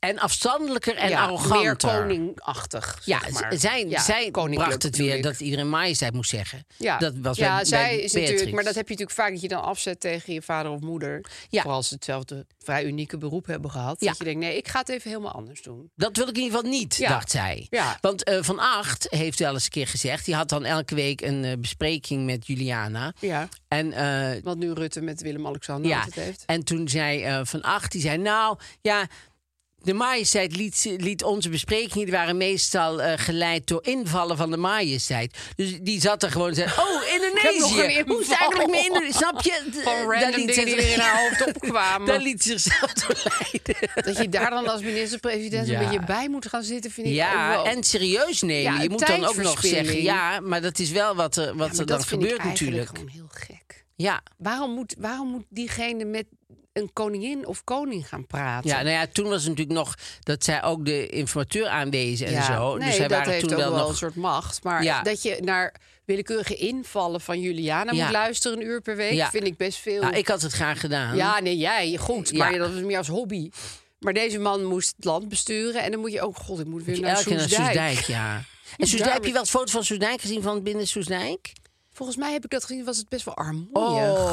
En afstandelijker en
ja,
arroganter.
Meer koningachtig,
Ja,
zeg maar.
z- zij,
Ja,
zij
koninklijk
bracht het
bedoel
weer
ik.
dat iedereen majesteit moest zeggen.
Ja,
dat was
ja
bij,
zij
bij
is
Beatrix.
natuurlijk... Maar dat heb je natuurlijk vaak, dat je dan afzet tegen je vader of moeder.
Ja.
Vooral als ze hetzelfde vrij unieke beroep hebben gehad.
Ja.
Dat je denkt, nee, ik ga het even helemaal anders doen.
Dat wil ik in ieder geval niet,
Ja.
dacht zij.
Ja.
Want eh, Van Acht heeft wel eens een keer gezegd... die had dan elke week een eh, bespreking met Juliana.
Ja.
En, eh,
Wat nu Rutte met Willem-Alexander
ja.
altijd heeft.
en toen zei eh, Van Acht, die zei... nou, ja, de majesteit liet, ze- liet onze besprekingen... die waren meestal eh, geleid door invallen van de majesteit. Dus die zat er gewoon en zei...
[LAUGHS]
oh,
nog een
Indonesië!
inval.
Hoe is het eigenlijk met Indonesië? Snap je?
Van
Eh,
random
daar liet
dingen
ze-
die weer in
[LAUGHS]
haar hoofd opkwamen.
Daar liet ze zichzelf door leiden.
Dat je daar dan als minister-president
Ja.
een beetje bij moet gaan zitten, vind ik ook
Ja,
wel-
en serieus nemen.
Ja,
je moet dan ook nog
tijdverspilling.
zeggen, ja, maar dat is wel wat er,
Ja,
wat
maar
er
dat
dan
vind ik
gebeurt
eigenlijk
natuurlijk.
gewoon heel gek.
Ja.
Waarom moet, waarom moet diegene met een koningin of koning gaan praten?
ja, nou ja, toen was het natuurlijk nog dat zij ook de informateur aanwezen en
Ja,
zo.
nee,
dus zij
dat
waren
heeft
toen
ook
wel
wel een
nog...
soort macht. Maar
Ja.
dat je naar willekeurige invallen van Juliana
Ja.
moet luisteren een uur per week,
Ja.
vind ik best veel.
Ja, ik had het graag gedaan.
Ja, nee, jij, goed.
Ja.
Maar dat was meer als hobby. Maar deze man moest het land besturen. En dan moet je ook, god, ik moet weer naar
Elke keer naar
Soesdijk.
Soesdijk,
[LAUGHS]
ja. En Soesdijk,
Daar-
heb je wel het foto van Soesdijk gezien van binnen Soesdijk?
Volgens mij heb ik dat gezien, was het best wel armoedig.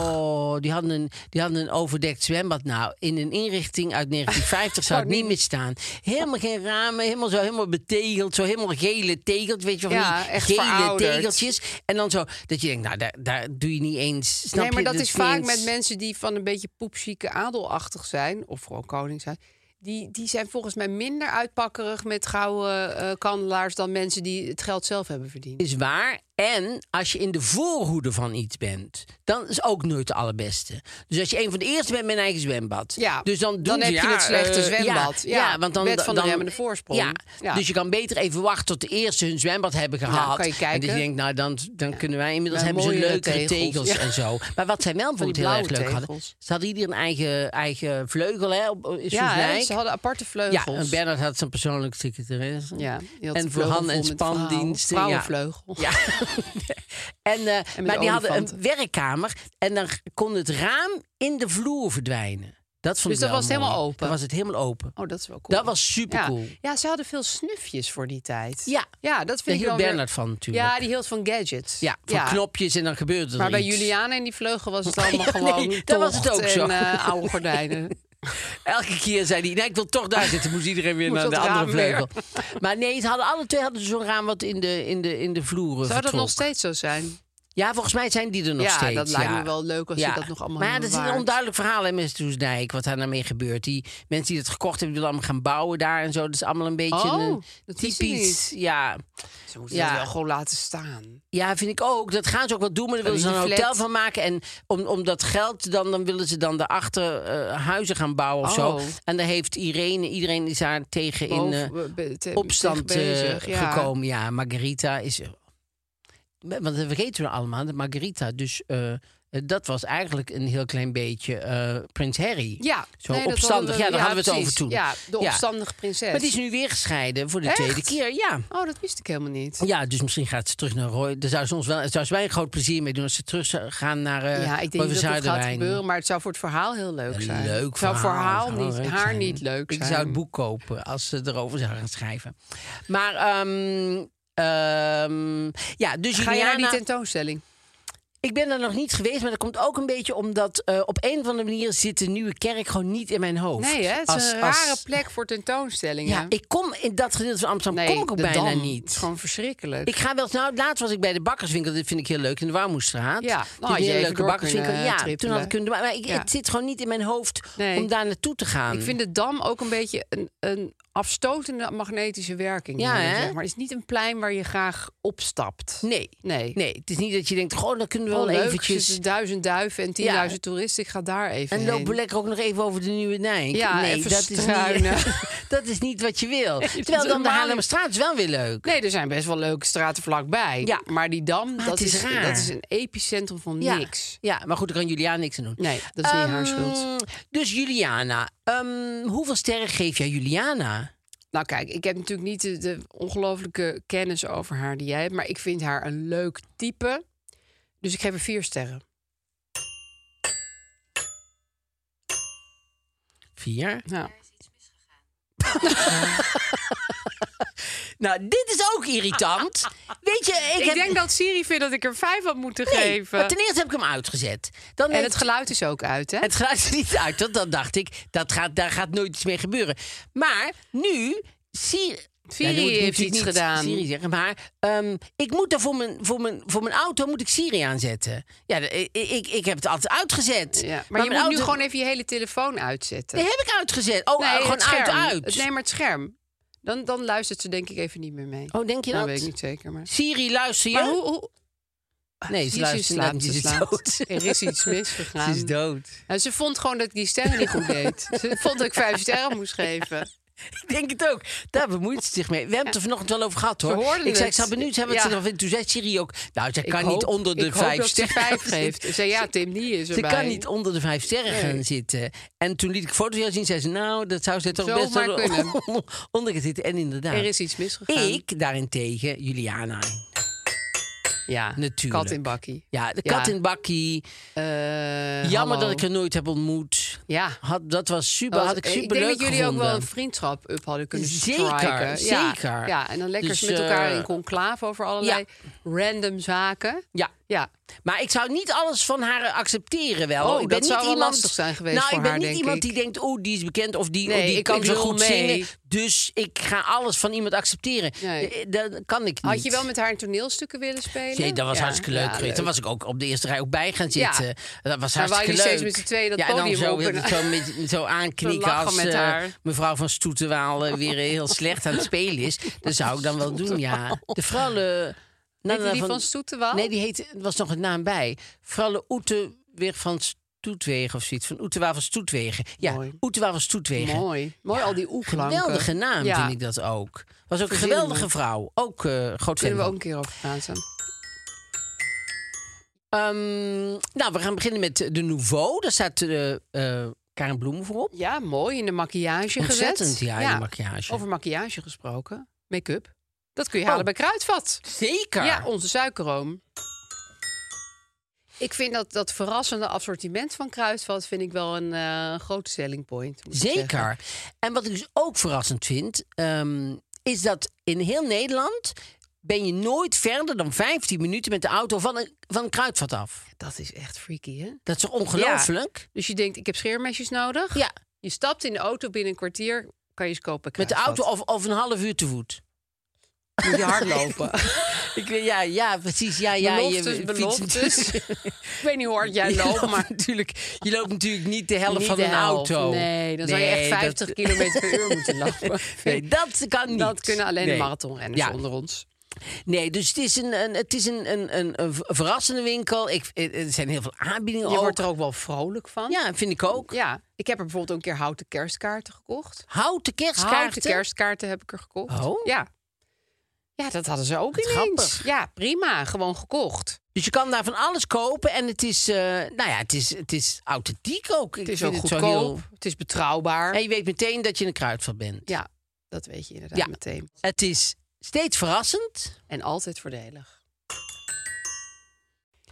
Oh, die hadden, een, die hadden een overdekt zwembad. Nou, in een inrichting
[LAUGHS]
uit 1950 zou het niet meer staan. Helemaal geen ramen, helemaal zo helemaal betegeld. Zo helemaal gele tegels, weet je wel.
Ja,
van die
echt
gele
verouderd.
tegeltjes. En dan zo, dat je denkt, nou, daar, daar doe je niet eens. Snap
nee, maar
je?
dat
Dus
is
niet
vaak
eens-
met mensen die van een beetje poepzieke adelachtig zijn, of gewoon koning zijn. Die, die zijn volgens mij minder uitpakkerig met gouden eh, kandelaars dan mensen die het geld zelf hebben verdiend.
Is waar. En als je in de voorhoede van iets bent, dan is ook nooit de allerbeste. Dus als je een van de eerste bent met een eigen zwembad.
Ja,
dus dan,
dan
doen ze,
heb je
ja,
het slechte
eh,
zwembad.
Ja,
Ja,
want dan,
wet van de
dan-
remmende voorsprong.
Ja,
Ja.
Dus je kan beter even wachten tot de eerste hun zwembad hebben
Ja,
gehad.
kan je
En dat
kijken.
je denkt, nou dan, dan kunnen wij inmiddels
Ja,
hebben ze
mooiere
leukere tegels,
tegels. Ja.
en zo. Maar wat zij wel bijvoorbeeld heel
blauwe
erg leuk hadden.
tegels.
Ze hadden ieder een eigen, eigen vleugel, hè? Op, in
Ja, hè,
Soesdijk.
ze hadden aparte vleugels.
Ja, en Bernard had zijn persoonlijke secretaresse.
Ja, die had
en voor
vleugel
Han
vol
en
met
Spandiensten.
verhaal.
ja.
Vrouwenvleugel.
Ja. [LAUGHS] en, eh, maar die hadden een
olifanten.
werkkamer en dan kon het raam in de vloer verdwijnen. Dat vond
Dus
ik
dat
wel
was het helemaal
mooi.
open?
Dan was het helemaal open.
Oh, dat is wel cool.
Dat was supercool.
Ja. ja, ze hadden veel snufjes voor die tijd.
Ja.
ja dat
Daar
vind ik
hield
wel weer-
Bernard van natuurlijk.
Ja, die hield van gadgets.
Ja, van knopjes en dan gebeurde er
Maar bij
iets.
Juliana en die vleugel was
[LAUGHS]
het allemaal
Ja, nee,
gewoon
daar was het
tocht
ook zo.
en eh,
[LAUGHS]
oude gordijnen.
Elke keer zei hij, nee, ik wil toch
[LAUGHS]
daar zitten. Moest iedereen weer
Moest
naar de
dat
andere
raam
vleugel.
weer.
Maar nee, ze hadden, alle twee hadden zo'n raam wat in de, in de, in de vloeren
Zou dat
vertrok.
nog steeds zo zijn?
Ja, volgens mij zijn die er nog
Ja,
steeds.
dat lijkt me wel leuk als je dat nog allemaal
Maar ja, dat
helemaal
is een
bewaart.
onduidelijk verhaal hè, met Soesdijk, wat daar nou mee gebeurt. Die mensen die dat gekocht hebben, die willen allemaal gaan bouwen daar en zo. Dat is allemaal een beetje
Oh,
een
dat wist ik
typisch. Ja.
Ze moeten
Ja.
dat wel gewoon laten staan.
ja, vind ik ook. Dat gaan ze ook wel doen, maar daar willen ze
in
dan een
die
hotel
flat.
van maken. En om, om dat geld, dan, dan willen ze dan daarachter eh huizen gaan bouwen of
Oh.
zo. En daar heeft Irene, iedereen is daar tegen in... eh,
Boven- be- te-
opstand
tegen
eh,
bezig, ja.
gekomen. Ja, Margarita is. Want dat vergeten we allemaal, dat Margarita. Dus eh, dat was eigenlijk een heel klein beetje eh, Prins Harry.
Ja,
Zo
nee, dat
opstandig.
hadden we-
ja, daar
ja,
hadden we het
precies.
over toen.
Ja, de opstandige prinses.
Maar die is nu weer gescheiden voor de
Echt?
tweede keer. Ja.
Oh, dat wist ik helemaal niet.
Ja, dus misschien gaat ze terug naar Roy. Daar zou ze ons wel, daar zou ze wij een groot plezier mee doen als ze terug zou gaan naar eh
ja, ik denk
Roy
niet
van
dat het gaat
Zuiderwijn.
gebeuren, maar het zou voor het verhaal heel leuk zijn.
Een leuk
Het zou voor
verhaal.
verhaal
Zou
niet,
leuk
haar
zijn.
niet leuk zijn.
Ik zou het boek kopen als ze erover zou gaan schrijven. Maar ehm, ehm, ja, dus
Ga je
Juliana,
naar die tentoonstelling?
ik ben er nog niet geweest, maar dat komt ook een beetje omdat eh, op een of andere manier zit de nieuwe kerk gewoon niet in mijn hoofd.
Nee, hè? het is
Als-
een
als-
rare plek voor tentoonstellingen.
Ja, ik kom in dat gedeelte van Amsterdam
nee,
kom ik ook
de
bijna
Dam
niet.
is gewoon verschrikkelijk.
Ik ga wel eens- nou, laatst was ik bij de bakkerswinkel, dit vind ik heel leuk, in de Warmoestraat.
Ja, nou,
Die
had je
hele
even
leuke
door
bakkerswinkel.
kunnen eh,
Ja, toen
trippelen.
had ik kunnen. Maar ik,
Ja.
het zit gewoon niet in mijn hoofd
Nee.
om daar naartoe te gaan.
Ik vind de dam ook een beetje een, een afstotende magnetische werking.
Ja,
hebben,
hè?
zeg maar het is niet een plein waar je graag opstapt.
Nee.
Nee.
Nee, het is niet dat je denkt, goh, dan kunnen we
Wel
wel
leuk, dus-
eventjes...
zitten duizend duiven en 10.000 toeristen. Ik ga daar even
En
heen.
lopen we lekker ook nog even over de Nieuwe Nijk.
Ja,
nee,
even
dat is,
struinen.
niet, [LAUGHS] dat is niet wat je
[LAUGHS]
wil.
dat
Terwijl
is
dan de
helemaal
Haarlemmerstraat is wel weer leuk.
Nee, er zijn best wel leuke straten vlakbij.
Ja.
Maar die dam,
Maar
dat,
het is
is,
raar.
dat is een epicentrum van
Ja.
niks.
Ja, maar goed, daar kan Juliana niks aan doen.
Nee, dat is niet haar
Ehm,
schuld.
Dus Juliana, ehm, hoeveel sterren geef jij Juliana?
Nou kijk, ik heb natuurlijk niet de, de ongelofelijke kennis over haar die jij hebt. Maar ik vind haar een leuk type. Dus ik geef er vier sterren.
Vier.
Ja.
Nou, dit is ook
[LAUGHS]
irritant. Weet je, ik,
Ik,
heb...
denk dat Siri vindt dat ik er vijf had moeten
Nee,
geven.
maar ten eerste heb ik hem uitgezet. Dan
En
heeft-
het geluid is ook uit, hè?
Het geluid is niet uit, want dan dacht ik, dat gaat, daar gaat nooit iets mee gebeuren. Maar nu, Siri...
Siri
dat moet ik natuurlijk
heeft iets
niet
gedaan.
Siri zeggen, maar ehm, ik moet daar voor mijn, voor, mijn, voor mijn auto moet ik Siri aanzetten. Ja, de- ik, ik, ik heb het altijd uitgezet.
Ja, maar, je
mijn
moet nu
auto-
gewoon even je hele telefoon uitzetten.
Die heb ik uitgezet. Oh,
het
gewoon
scherm.
uit, uit.
Het- Nee, maar het scherm. Dan, dan luistert ze denk ik even niet meer mee.
Oh, denk je
Nou,
dat?
weet ik niet zeker, maar...
Siri, luister je?
Maar hoe... hoe...
Nee, ze
Jezus,
luistert
slaapt,
niet.
ze
Ze is
slaapt.
dood.
[LAUGHS] Er is iets misgegaan.
Ze is dood.
En ze vond gewoon dat ik die sterren niet goed deed.
[LAUGHS]
Ze vond dat ik vijf sterren moest geven.
Ik denk het ook. Daar bemoeit ze zich mee. We hebben het er vanochtend wel over gehad, hoor.
hoorden
ik zei, ik
het.
zou benieuwd zijn wat
Ja.
ze ervan vindt. Toen zei Siri ook, nou, ze
Ik
kan
hoop-
niet onder de
ik hoop
vijf
dat ze
sterren.
vijf geeft. Ze zei, ja, Tim, die is
Ze
erbij.
kan niet onder de vijf sterren gaan
Nee.
zitten. En toen liet ik foto's van jou zien. Zei ze, nou, dat zou ze toch
Zo
best
maar
wel
kunnen.
on- [LAUGHS] onder gaan zitten. En inderdaad.
Er is iets misgegaan.
Ik daarentegen, Juliana.
Ja,
Natuurlijk.
Kat in bakkie.
Ja, de kat in het bakkie.
Eh,
Jammer
hallo.
dat ik haar nooit heb ontmoet.
Ja.
Had, dat was super.
Dat was-
had ik super
ik denk dat jullie ook wel een
gevonden.
vriendschap up hadden kunnen
Zeker,
striken. Ja,
zeker.
Ja, en dan lekker
Dus,
met elkaar
eh,
in conclave over allerlei random zaken.
Ja.
Ja,
Maar ik zou niet alles van haar accepteren wel.
Oh,
hoor. ik ben
dat zou
niet
wel
iemand,
lastig zijn geweest
Nou,
voor
ik ben
haar,
niet
denk
iemand
ik.
die denkt, oh, die is bekend of die, oh,
Nee,
die
ik-
kan
ik
zo
lul
goed
mee.
zingen. Dus ik ga alles van iemand accepteren.
Nee.
Eh, Dat kan ik niet.
had je wel met haar toneelstukken willen spelen?
Nee, dat was
Ja,
hartstikke leuk
ja,
geweest. Daar was ik ook op de eerste rij ook bij gaan
Ja.
zitten. Dat was
Maar wou
hartstikke
je
leuk.
steeds met z'n tweeën dat
ja, en dan
podium
zo,
op en-
heel- zo, met, zo
[LAUGHS] Te
aanknikken
lachen
als
met
eh,
haar.
mevrouw van Stoetewaal eh, weer heel slecht aan het spelen
[LAUGHS]
is. Dat zou ik dan wel doen, ja. De vrouw... eh, Nana
Heette die van Stoetewaal?
Nee, die heette, er was nog een naam bij. Vrouwle Oeteweer van Stoetwegen of zoiets. Van Oetewa van Stoetwegen. Ja,
Mooi.
Oetewa van Stoetwegen.
Mooi. Mooi, al die oeklanken.
Geweldige naam
Ja.
vind ik dat ook. Was ook een
Verzinnen.
geweldige vrouw. Ook eh groot fan
Kunnen we
van.
ook een keer over praten.
Ehm, nou, we gaan beginnen met eh, de Nouveau. Daar staat eh eh Karen Bloemen voor op.
Ja, mooi in de maquillage
Ontzettend,
gezet.
ja, in de maquillage.
Over maquillage gesproken. Make-up. Dat kun je
Oh.
halen bij Kruidvat.
Zeker.
Ja, onze suikeroom. Ik vind dat, dat verrassende assortiment van Kruidvat... vind ik wel een eh, grote selling point. moet ik zeggen.
Zeker. En wat ik dus ook verrassend vind, ehm, is dat in heel Nederland ben je nooit verder dan 15 minuten met de auto van een, van een kruidvat af.
Dat is echt freaky, hè?
Dat is toch ongelooflijk?
Dus je denkt, ik heb scheermesjes nodig.
Ja.
Je stapt in de auto binnen een kwartier... kan je ze kopen bij
Met de auto
Kruidvat.
of, of een half uur te voet.
Moet je
[LAUGHS]
hardlopen.
Ik, weet- ja, ja, precies. Ja, ja,
Beloftes,
je [LAUGHS]
beloftes. ik weet niet hoe hard jij
Je
loopt,
loopt,
maar...
natuurlijk, je loopt natuurlijk niet de helft
Niet
van
de
een
helft.
auto.
Nee, dan zou je echt
[LAUGHS]
50
dat-
kilometer per uur
[LAUGHS]
moeten lopen.
Nee, dat kan niet.
Dat kunnen alleen
Nee.
de marathonrenners
Ja.
onder ons.
Nee, dus het is een, een, het is een, een, een, een verrassende winkel. Ik, er zijn heel veel aanbiedingen
Je
ook.
wordt er ook wel vrolijk van.
Ja, vind ik ook.
Ja, ik heb er bijvoorbeeld ook een keer houten kerstkaarten gekocht.
Houten kerstkaarten.
Houten kerstkaarten heb ik er gekocht.
Oh.
Ja. Ja, dat hadden ze ook
Wat
ineens.
grappig.
Ja, prima. Gewoon gekocht.
Dus je kan daar van alles kopen. En het is, eh, nou ja, het is, het is authentiek ook. Ik
Het is
vind
ook
zo
goedkoop.
heel-
Het is betrouwbaar.
En je weet meteen dat je een kruidvat bent.
Ja, dat weet je inderdaad
Ja.
meteen.
Het is steeds verrassend.
En altijd voordelig.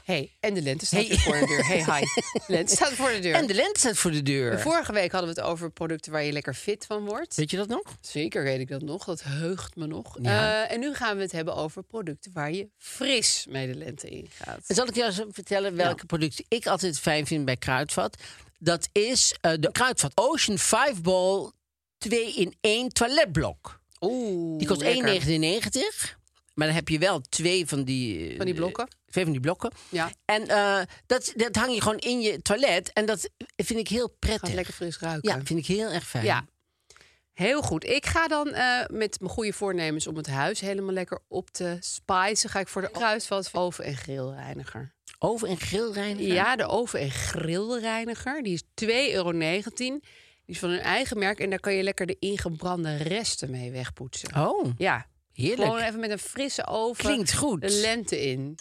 hey, en de lente staat
Hey.
weer voor de deur.
[LAUGHS]
hey, hi. De lente staat voor de deur.
En de lente staat voor de deur.
Vorige week hadden we het over producten waar je lekker fit van wordt.
Weet je dat nog?
Zeker weet ik dat nog. Dat heugt me nog.
Ja.
Eh, en nu gaan we het hebben over producten waar je fris mee de lente in gaat.
En zal ik jou eens vertellen welke producten ik altijd fijn vind bij kruidvat? Dat is eh, de kruidvat Ocean 5 Ball 2 in 1 toiletblok.
Oeh,
Die kost 1,99.
lekker.
Maar dan heb je wel twee van die... eh,
Van die blokken?
Twee van die blokken.
Ja.
En eh, dat, dat hang je gewoon in je toilet. En dat vind ik heel prettig.
Gaat lekker fris ruiken.
Ja, vind ik heel erg fijn.
Ja. Heel goed. Ik ga dan eh, met mijn goede voornemens om het huis helemaal lekker op te spicen. Ga ik
Oh.
voor de kruidvat oven- en grillreiniger.
Oven- en grillreiniger.
Ja, de oven- en grillreiniger. Die is 2,19 euro. Die is van hun eigen merk. En daar kan je lekker de ingebrande resten mee wegpoetsen.
Oh,
Ja.
heerlijk.
Gewoon even met een frisse oven.
Klinkt goed.
De lente in.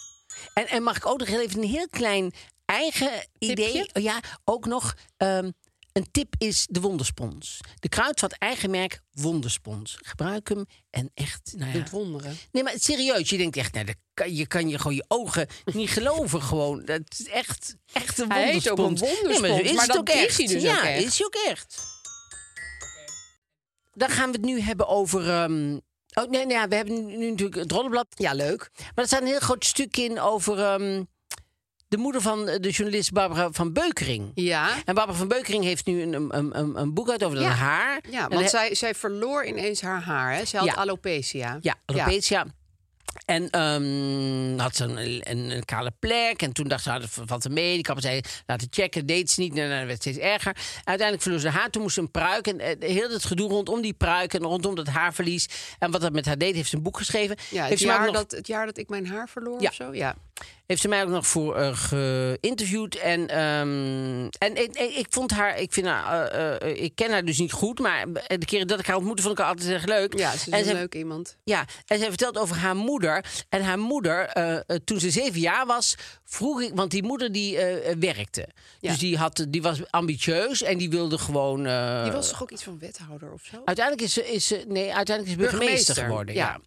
En, en mag ik ook nog heel even een heel klein eigen idee? Oh Ja, ook nog. ehm, een tip is de wonderspons. De kruidvat eigen merk wonderspons. Gebruik hem en echt. Nou ja.
Doet wonderen.
Nee, maar serieus, je denkt echt, nou, dat kan- je kan je gewoon je ogen
[LAUGHS]
niet geloven. Gewoon, dat is echt, echt een
Hij
wonderspons.
heet ook een
Nee, maar, zo
wonderspons,
is
maar
het
dat
ook
is
echt.
hij dus
ja,
ook echt.
is hij ook echt. dan gaan we het nu hebben over. ehm, oh nee, nee, ja, we hebben nu natuurlijk het rollenblad. Ja, leuk. Maar er staat een heel groot stuk in over ehm, de moeder van eh, de journalist Barbara van Beukering.
Ja.
En Barbara van Beukering heeft nu een, een, een, een boek uit over dat haar.
Ja,
En
want
hij-
zij, zij verloor ineens haar haar. Hè? Ze had
Ja.
alopecia.
Ja, alopecia. En ehm, had ze een, een, een kale plek. En toen dacht ze, ah, dat valt er mee. Die kapper zei, laten checken. Deed ze niet. En dan werd het steeds erger. Uiteindelijk verloor ze haar. Toen moest ze een pruik. En eh, heel het gedoe rondom die pruik. En rondom dat haarverlies. En wat dat met haar deed, heeft ze een boek geschreven.
Ja, het,
heeft, ze mij
jaar
ook nog,
dat, het jaar dat ik mijn haar verloor
Ja.
of zo. Ja.
heeft ze mij ook nog voor eh, geïnterviewd. En, ehm, en ik, ik, ik vond haar, ik, vind haar eh, eh, ik ken haar dus niet goed. Maar de keren dat ik haar ontmoette, vond ik haar altijd erg leuk.
ja, ze
En
is
ze-
een leuk iemand.
ja, en zij vertelt over haar moeder. En haar moeder, eh, eh, toen ze zeven jaar was, vroeg ik... Want die moeder die eh, eh, werkte.
Ja.
Dus die, had, die was ambitieus en die wilde gewoon... eh,
Die was toch ook iets van wethouder of zo?
Uiteindelijk is ze, is ze, nee, uiteindelijk is ze burgemeester,
Burgemeester,
geworden. Ja.
ja.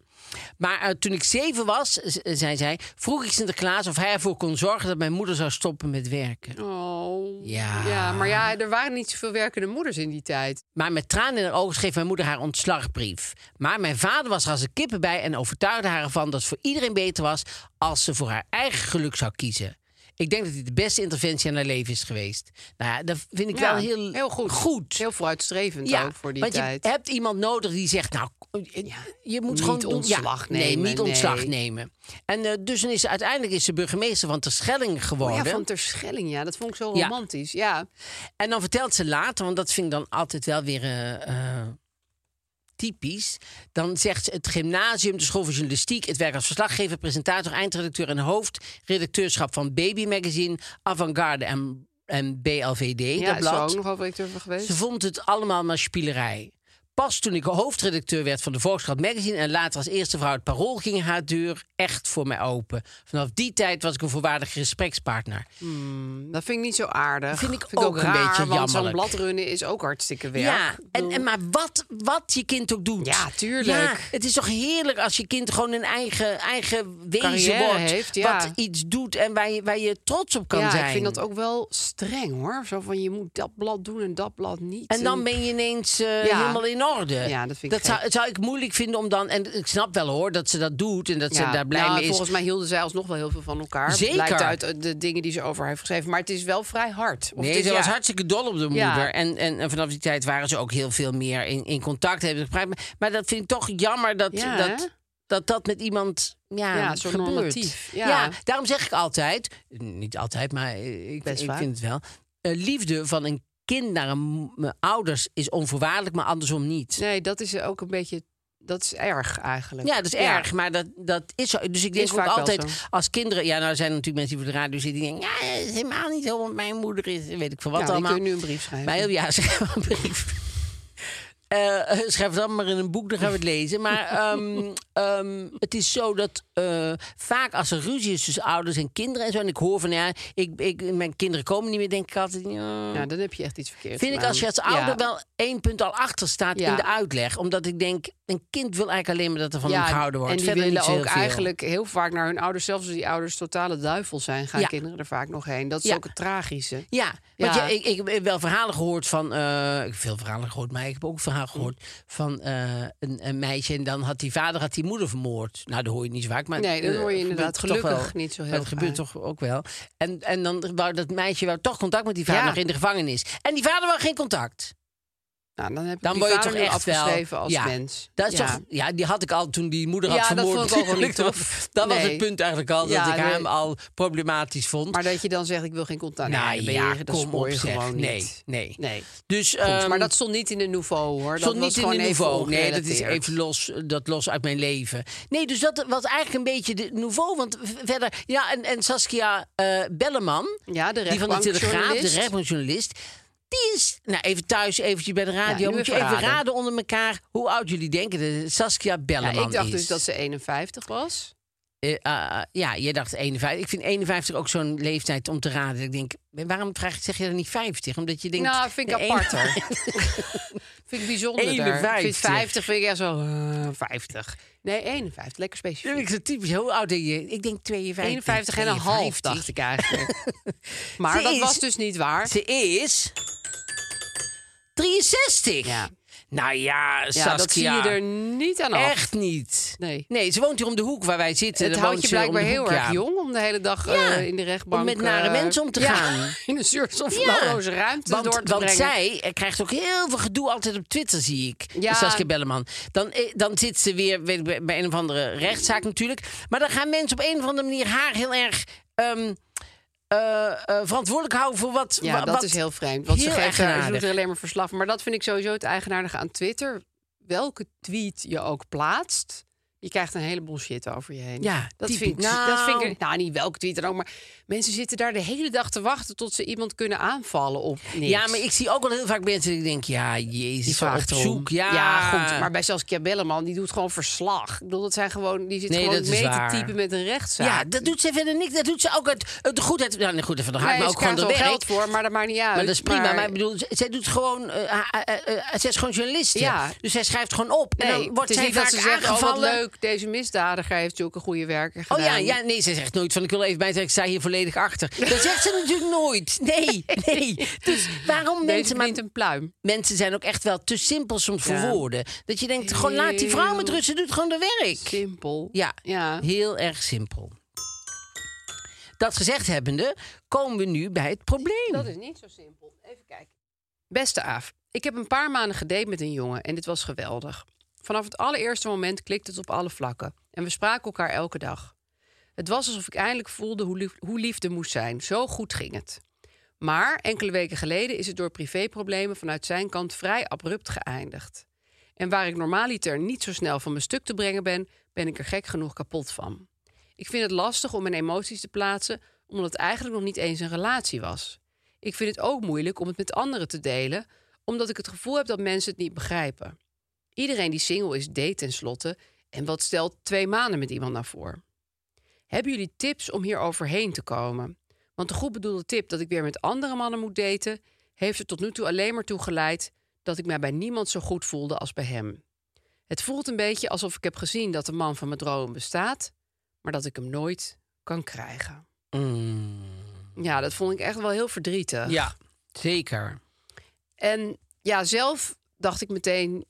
Maar eh, toen ik zeven was, z- zei zij... vroeg ik Sinterklaas of hij ervoor kon zorgen... dat mijn moeder zou stoppen met werken.
Oh.
Ja.
ja, maar ja, er waren niet zoveel werkende moeders in die tijd.
Maar met tranen in haar ogen schreef mijn moeder haar ontslagbrief. Maar mijn vader was er als een kippen bij en overtuigde haar ervan dat het voor iedereen beter was als ze voor haar eigen geluk zou kiezen. Ik denk dat dit de beste interventie in haar leven is geweest. Nou ja, dat vind ik
Ja,
wel heel,
heel goed. Heel vooruitstrevend
ja,
ook voor die
want
tijd.
je hebt iemand nodig die zegt, nou, eh, je moet
Niet
gewoon doen-
ontslag
ja,
nemen,
Nee, niet ontslag
nee.
nemen. En eh, dus dan is ze, uiteindelijk is ze burgemeester van Terschelling
Oh
geworden.
ja, van Terschelling, ja. Dat vond ik zo
Ja.
romantisch. Ja.
En dan vertelt ze later, want dat vind ik dan altijd wel weer eh, eh, typisch. Dan zegt ze het gymnasium, de school voor journalistiek, het werk als verslaggever, presentator, eindredacteur en hoofdredacteurschap van Baby Magazine, Avantgarde en, en BLVD. dat
Ja, is er
blad.
ook nog hoofdredacteur van geweest.
Ze vond het allemaal maar spielerij. Pas toen ik hoofdredacteur werd van de Volkskrant Magazine en later als eerste vrouw het Parool ging haar deur echt voor mij open. Vanaf die tijd was ik een voorwaardige gesprekspartner.
Dat vind ik niet zo aardig.
Vind ik ook een beetje
Want zo'n
jammerlijk.
bladrunnen is ook hartstikke werk.
Ja,
Ik
en,
bedoel-
en maar wat, wat je kind ook doet.
Ja, tuurlijk.
Ja, het is toch heerlijk als je kind gewoon een eigen, eigen wezen
Carrière
wordt.
heeft, ja.
Wat iets doet en waar je, waar je trots op kan
ja,
zijn.
ik vind dat ook wel streng hoor. Zo van je moet dat blad doen en dat blad niet.
En dan ben je ineens eh,
Ja.
helemaal in orde.
Ja, dat vind ik
dat zou, zou ik moeilijk vinden om dan... En ik snap wel hoor, dat ze dat doet en dat
Ja,
ze daar blij
nou,
mee is.
Volgens mij hielden zij alsnog wel heel veel van elkaar.
Zeker.
Blijkt uit eh, de dingen die ze over haar heeft geschreven. Maar het is wel vrij hard. Of het
Nee,
is,
ze
ja,
was hartstikke dol op de moeder.
Ja.
En, en, en vanaf die tijd waren ze ook heel veel meer in, in contact. Hebben ze gepraat. Maar, maar dat vind ik toch jammer dat
Ja, hè?
dat, dat, dat met iemand ja,
Ja, zo
gebeurt.
normatief, ja.
daarom zeg ik altijd... Niet altijd, maar eh, ik,
Best
ik
vaak.
vind het wel. eh, liefde van een kind naar een, m- ouders is onvoorwaardelijk, maar andersom niet.
Nee, dat is ook een beetje... Dat is erg eigenlijk.
Ja, dat is erg, maar dat, dat is zo. Dus ik denk
Is
ook
vaak wel
altijd
zo.
als kinderen... Ja, nou er zijn natuurlijk mensen die voor de radio zitten... die denken, ja, het is helemaal niet zo, want mijn moeder is... weet ik veel wat
Nou, die
allemaal.
kun je nu een brief schrijven.
Maar heel, ja, schrijf maar een [LAUGHS] brief. Eh, eh, schrijf het allemaal maar in een boek, dan gaan we het lezen.
[LAUGHS]
Maar ehm, ehm, het is zo dat eh, vaak als er ruzie is tussen ouders en kinderen en zo... en ik hoor van, ja, ik, ik, mijn kinderen komen niet meer, denk ik altijd... Ja,
Ja, dan heb je echt iets verkeerd
Vind ik
gedaan.
als je als ouder
Ja.
wel één punt al achter staat
Ja.
in de uitleg. Omdat ik denk, een kind wil eigenlijk alleen maar dat er van
ja,
hem gehouden wordt.
En die
Verder
willen
niet zo heel
ook
veel.
eigenlijk heel vaak naar hun ouders. Zelfs als die ouders totale duivels zijn, gaan
Ja.
kinderen er vaak nog heen. Dat is
Ja.
ook het tragische.
Ja, want
Ja.
je- ik, ik heb wel verhalen gehoord van... eh, ik heb veel verhalen gehoord, maar ik heb ook een verhaal gehoord... van eh, een, een meisje en dan had die vader had die moeder vermoord. Nou, dat hoor je niet zo vaak. Maar,
Nee, dat
eh,
hoor je
gebeurt
inderdaad
toch wel.
gelukkig niet zo heel
Maar Dat gebeurt
vaak.
toch ook wel. En, en dan wou dat meisje wou toch contact met die vader
Ja.
nog in de gevangenis. En die vader wou geen contact.
Nou, dan heb ik
Dan
die
word je
vader
toch
nu
echt wel-
afgeschreven als
Ja.
mens.
Dat is
Ja.
toch, ja, die had ik al toen die moeder
Ja,
had
dat
vermoord.
vond ik ook
[LAUGHS]
wel niet
Dat-
tof.
Dat was
Nee.
het punt eigenlijk al,
Ja,
dat ik
nee.
hem al problematisch vond.
Maar dat je dan zegt, ik wil geen contact.
nou
nee, dan ben
ja,
je, dat
kom
spoor
op
je
zeg.
gewoon
nee,
niet.
nee.
Nee.
Dus,
Goed, maar
ehm,
dat stond niet in de nouveau, hoor.
stond niet
dat was
in de
gewoon even
nouveau. Nee, dat is
ongerelateerd.
even los, dat los uit mijn leven. Nee, dus dat was eigenlijk een beetje de nouveau. Want v- verder, ja, en, en Saskia eh, Belleman,
Ja, de
die van de Telegraaf, de
rechtbankjournalist.
rechtbankjournalist... Die is, nou even thuis, eventjes bij de radio.
nu
moet je
even
even raden.
raden.
onder elkaar hoe oud jullie denken dat het Saskia
Ja,
Belleman
ik dacht
is.
dus dat ze 51 was.
Eh, ah, ja, je dacht 51. Ik vind 51 ook zo'n leeftijd om te raden. Ik denk, waarom vraag, zeg je dan niet 50? Omdat je denkt...
nou, vind ik
nee,
aparter. [LAUGHS] vind ik bijzonderder. Ik vind
51.
50 vind ik echt zo... eh, 50. Nee, 51. Lekker
Dat
specifiek.
vind ik zo typisch. Hoe oud denk je? Ik denk 52.
51 en een
52.
half, dacht ik
[LAUGHS]
eigenlijk. maar
Ze
dat
is-
was dus niet waar.
Ze is 63.
Ja.
Nou ja, Saskia.
Ja, dat zie je er niet aan af.
Echt niet.
Nee.
nee, ze woont hier om de hoek waar wij zitten.
Het
Daar
houdt
woont
je
ze om de
blijkbaar heel
hoek,
erg
ja.
jong om de hele dag
Ja,
eh, in de rechtbank...
om met nare
eh,
mensen om te
ja,
gaan.
[LAUGHS] in een zuurstof
Ja.
van ruimte
want,
door te
want
brengen.
zij eh, krijgt ook heel veel gedoe altijd op Twitter, zie ik. Dus
Ja.
Saskia Belleman. Dan, eh, dan zit ze weer weet ik, bij- bij een of andere rechtszaak natuurlijk. Maar dan gaan mensen op een of andere manier haar heel erg... ehm, eh, eh, verantwoordelijk houden voor wat...
Ja,
wa-
dat
wat-
is heel vreemd. Want ze,
heel
geeft er, ze doet
eigenaardig.
er alleen maar verslag. van. Maar dat vind ik sowieso het eigenaardige aan Twitter. Welke tweet je ook plaatst, je krijgt een heleboel shit over je heen.
Ja,
dat
typisch.
vind, ik,
Nou.
dat vind ik... Nou, niet welke tweet dan ook, maar mensen zitten daar de hele dag te wachten... tot ze iemand kunnen aanvallen op niks.
Ja, maar ik zie ook wel heel vaak mensen die denken... Ja,
Die
jezus,
vraagt
op
erom.
zoek. Ja.
goed. Maar bij Saskia Belleman, die doet gewoon verslag. Ik bedoel, dat zijn gewoon, die zit
Nee,
gewoon
dat is
mee
waar.
te typen met een rechtszaak.
Ja, dat doet ze verder niks. Dat doet ze ook uit, uit de goedheid. Nou, niet goedheid van de hart,
Nee,
maar
ze
ook gewoon
krijgt
door
wel
werk.
geld voor, maar dat maakt niet uit.
Maar dat is prima. Maar, ik bedoel, z- zij doet gewoon. eh, ha- eh, eh, zij is gewoon journaliste.
Ja.
Dus zij schrijft gewoon op.
Nee,
en dan wordt
het is
zij
niet dat
vaak
ze zegt, oh wat
aangevallen.
leuk, deze misdadiger heeft zulke goede werken
Oh
gedaan.
ja, ja, nee, zij zegt nooit van ik wil even bij zeggen, ik sta hier volledig achter.
[LAUGHS]
Dat zegt ze natuurlijk nooit. Nee, nee. Dus waarom
Deze
mensen, maar
verdient een pluim.
mensen zijn ook echt wel te simpel soms voor
Ja.
woorden. Dat je denkt, gewoon laat die vrouw met rust, ze doet gewoon de werk.
Simpel.
Ja,
ja.
heel erg simpel. Dat gezegd hebbende, komen we nu bij het probleem.
Dat is niet zo simpel. Even kijken. Beste Aaf, ik heb een paar maanden gedate met een jongen en dit was geweldig. Vanaf het allereerste moment klikte het op alle vlakken en we spraken elkaar elke dag. Het was alsof ik eindelijk voelde hoe, lief- hoe liefde moest zijn. Zo goed ging het. Maar enkele weken geleden is het door privéproblemen vanuit zijn kant vrij abrupt geëindigd. En waar ik normaaliter niet zo snel van mijn stuk te brengen ben, ben ik er gek genoeg kapot van. Ik vind het lastig om mijn emoties te plaatsen, omdat het eigenlijk nog niet eens een relatie was. Ik vind het ook moeilijk om het met anderen te delen, omdat ik het gevoel heb dat mensen het niet begrijpen. Iedereen die single is, date tenslotte. En wat stelt twee maanden met iemand nou voor? Hebben jullie tips om hier overheen te komen? Want de goed bedoelde tip dat ik weer met andere mannen moet daten, heeft er tot nu toe alleen maar toe geleid dat ik mij bij niemand zo goed voelde als bij hem. Het voelt een beetje alsof ik heb gezien dat de man van mijn droom bestaat, maar dat ik hem nooit kan krijgen. Ja, dat vond ik echt wel heel verdrietig.
Ja, zeker.
En ja, zelf dacht ik meteen.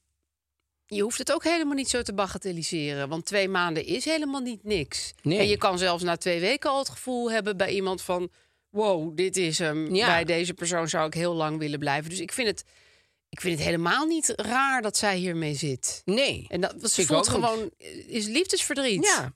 Je hoeft het ook helemaal niet zo te bagatelliseren. Want twee maanden is helemaal niet niks.
Nee.
En je kan zelfs na twee weken al het gevoel hebben bij iemand van... wow, dit is hem.
Ja.
Bij deze persoon zou ik heel lang willen blijven. Dus ik vind het, ik vind het helemaal niet raar dat zij hiermee zit.
Nee.
En dat, want ze
Ik
voelt
ook niet.
gewoon... eh, is liefdesverdriet.
Ja.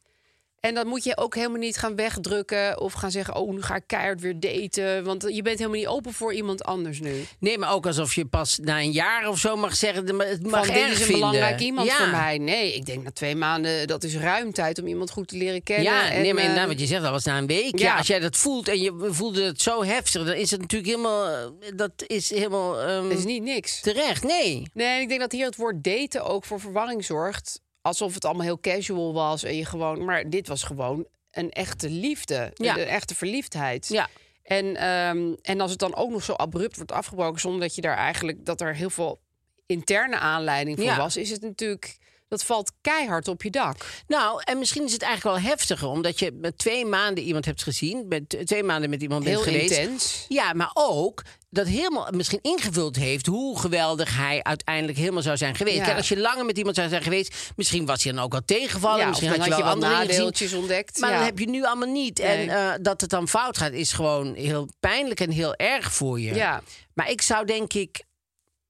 En dat moet je ook helemaal niet gaan wegdrukken... of gaan zeggen, oh, nu ga ik keihard weer daten. Want je bent helemaal niet open voor iemand anders nu.
Nee, maar ook alsof je pas na een jaar of zo mag zeggen... de- Het mag
van
erg
dit is een
vinden.
belangrijk iemand
ja.
voor mij. Nee, ik denk na twee maanden, dat is ruim tijd om iemand goed te leren kennen.
Ja, nee, maar
en,
nou,
eh,
inderdaad, wat je zegt, dat was na een week. Ja.
ja.
als jij dat voelt en je voelde het zo heftig... dan is het natuurlijk helemaal... eh, Dat is helemaal ehm,
het is niet niks.
terecht. Nee.
Nee, en ik denk dat hier het woord daten ook voor verwarring zorgt. Alsof het allemaal heel casual was en je gewoon... Maar dit was gewoon een echte liefde.
Ja.
Een echte verliefdheid.
Ja.
En, ehm, en als het dan ook nog zo abrupt wordt afgebroken... zonder dat je daar eigenlijk... dat er heel veel interne aanleiding voor
Ja.
was... is het natuurlijk... dat valt keihard op je dak.
Nou, en misschien is het eigenlijk wel heftiger... omdat je met twee maanden iemand hebt gezien... Met twee maanden met iemand
Heel
bent geweest...
intens.
Ja, maar ook dat helemaal misschien ingevuld heeft hoe geweldig hij uiteindelijk helemaal zou zijn geweest.
Ja.
Kijk, als je langer met iemand zou zijn geweest, misschien was hij dan ook wel tegenvallen.
Ja,
misschien
of dan
had je wel
had je wel
andere dingen gezien.
nadeeltjes ontdekt,
Maar
ja.
dat heb je nu allemaal niet. En
Nee.
eh, dat het dan fout gaat, is gewoon heel pijnlijk en heel erg voor je.
Ja.
Maar ik zou denk ik.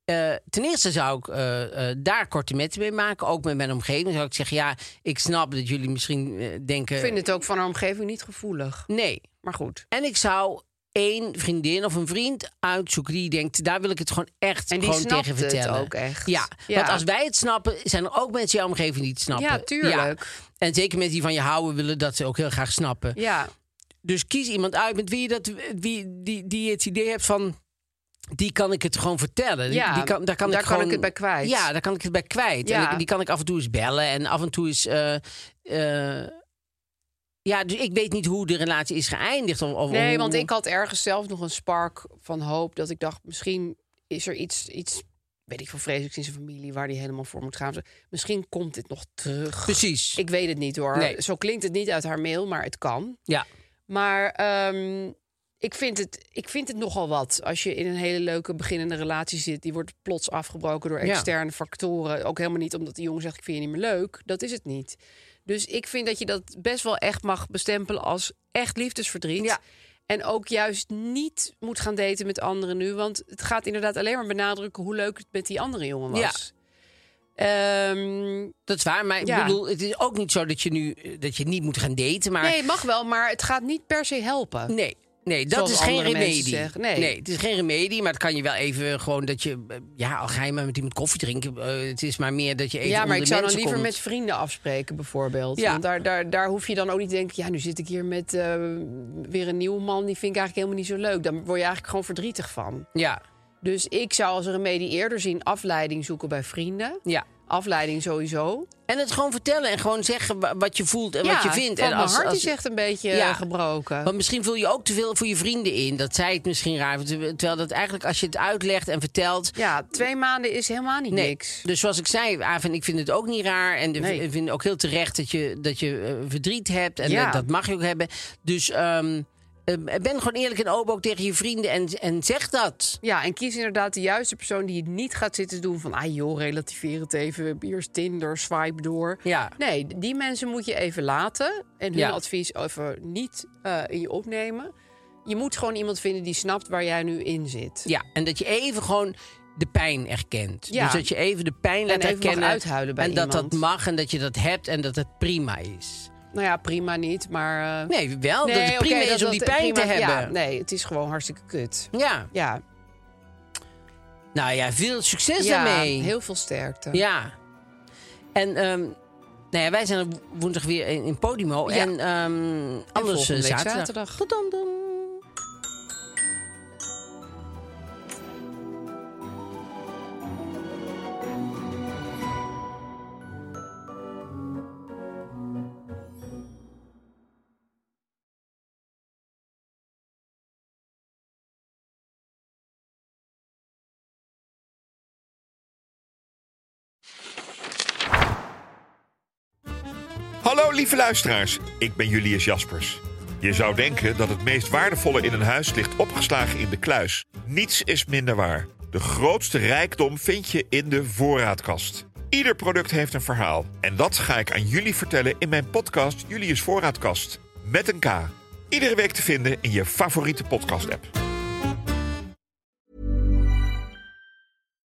eh, ten eerste zou ik eh, eh, daar korte metten mee maken, ook met mijn omgeving. Zou ik zeggen, ja, ik snap dat jullie misschien eh, denken.
Ik vind het ook van haar omgeving niet gevoelig.
Nee,
Maar goed.
en ik zou één vriendin of een vriend uitzoeken die denkt, daar wil ik het gewoon echt
En die
gewoon
snapt
tegen
het
vertellen.
ook echt.
Ja,
Ja.
want als wij het snappen, zijn er ook mensen in je omgeving die het snappen.
Ja, tuurlijk.
Ja. En zeker mensen die van je houden, willen dat ze ook heel graag snappen.
Ja,
Dus kies iemand uit met wie je, dat, wie, die, die je het idee hebt van... Die kan ik het gewoon vertellen. Die-
Ja,
die kan, daar kan,
daar
ik,
kan
gewoon-
ik het bij kwijt.
Ja, daar kan ik het bij kwijt.
Ja.
En ik- die kan ik af en toe eens bellen. En af en toe eens... eh, eh, ja, dus ik weet niet hoe de relatie is geëindigd. Of, of
nee,
hoe-
want ik had ergens zelf nog een spark van hoop. Dat ik dacht, misschien is er iets, iets weet ik veel vreselijks in zijn familie... waar die helemaal voor moet gaan. Misschien komt dit nog terug.
Precies.
Ik weet het niet hoor.
Nee.
Zo klinkt het niet uit haar mail, maar het kan.
Ja.
Maar ehm, ik vind, het, ik vind het nogal wat. Als je in een hele leuke beginnende relatie zit, die wordt plots afgebroken door
Ja.
externe factoren. Ook helemaal niet omdat die jongen zegt: Ik vind je niet meer leuk. Dat is het niet. Dus ik vind dat je dat best wel echt mag bestempelen als echt liefdesverdriet.
Ja.
En ook juist niet moet gaan daten met anderen nu. Want het gaat inderdaad alleen maar benadrukken hoe leuk het met die andere jongen
Ja.
was. Ehm,
Dat is waar, maar
Ja.
ik bedoel, het is ook niet zo dat je nu eh, dat je niet moet gaan daten, maar
nee, mag wel, maar het gaat niet per se helpen.
nee, nee, dat
Zoals
is geen
andere mensen
remedie.
zeggen, nee.
het is geen remedie, maar het kan je wel even gewoon dat je, eh, ja, al ga je maar met iemand koffie drinken, eh, het is maar meer dat je even
ja, maar
onder
ik zou dan
mensen
liever
komt.
met vrienden afspreken, bijvoorbeeld.
Ja.
Want daar, daar, daar hoef je dan ook niet te denken... ja, nu zit ik hier met eh, weer een nieuwe man... die vind ik eigenlijk helemaal niet zo leuk. Dan word je eigenlijk gewoon verdrietig van.
ja,
Dus ik zou als remedie eerder zien afleiding zoeken bij vrienden.
ja.
Afleiding sowieso.
En het gewoon vertellen en gewoon zeggen wa- wat je voelt en
ja,
wat je vindt.
Van
en
mijn hart is echt een beetje
Ja.
eh, gebroken.
Want misschien vul je ook te veel voor je vrienden in. Dat zij het misschien raar. vinden, Terwijl dat eigenlijk als je het uitlegt en vertelt.
Ja, twee maanden is helemaal niet
Nee.
niks.
Dus zoals ik zei, Aaf en ik vind het ook niet raar. En
Nee.
ik vind ook heel terecht dat je, dat je eh, verdriet hebt. En
Ja.
dat, dat mag je ook hebben. Dus ehm, eh, ben gewoon eerlijk en open ook tegen je vrienden. En, en zeg dat.
Ja, en kies inderdaad de juiste persoon die het niet gaat zitten doen van... ah joh, relativeer het even, hier is Tinder, swipe door.
Ja.
Nee, die mensen moet je even laten en hun
Ja.
advies even niet eh, in je opnemen. Je moet gewoon iemand vinden die snapt waar jij nu in zit.
Ja. En dat je even gewoon de pijn erkent.
Ja.
Dus dat je even de pijn laat
even mag
erkennen.
uithuilen bij
en dat dat
iemand.
mag en dat je dat hebt en dat het prima is.
Nou ja, prima niet, maar... eh,
Nee, wel. dat het
oké,
prima
dat-
is om die
dat-
pijn te
prima-
hebben.
Ja, nee, het is gewoon hartstikke kut.
Ja.
Ja,
Nou ja, veel succes
ja
daarmee.
heel veel sterkte.
Ja. En ehm, nou ja, wij zijn op woensdag weer in, in Podimo.
Ja.
En ehm anders
volgende
eh,
week
zaterdag.
zaterdag.
Tot dan, dan.
Hallo lieve luisteraars, ik ben Julius Jaspers. Je zou denken dat het meest waardevolle in een huis ligt opgeslagen in de kluis. Niets is minder waar. De grootste rijkdom vind je in de voorraadkast. Ieder product heeft een verhaal. En dat ga ik aan jullie vertellen in mijn podcast Julius Voorraadkast. Met een K. Iedere week te vinden in je favoriete podcast-app.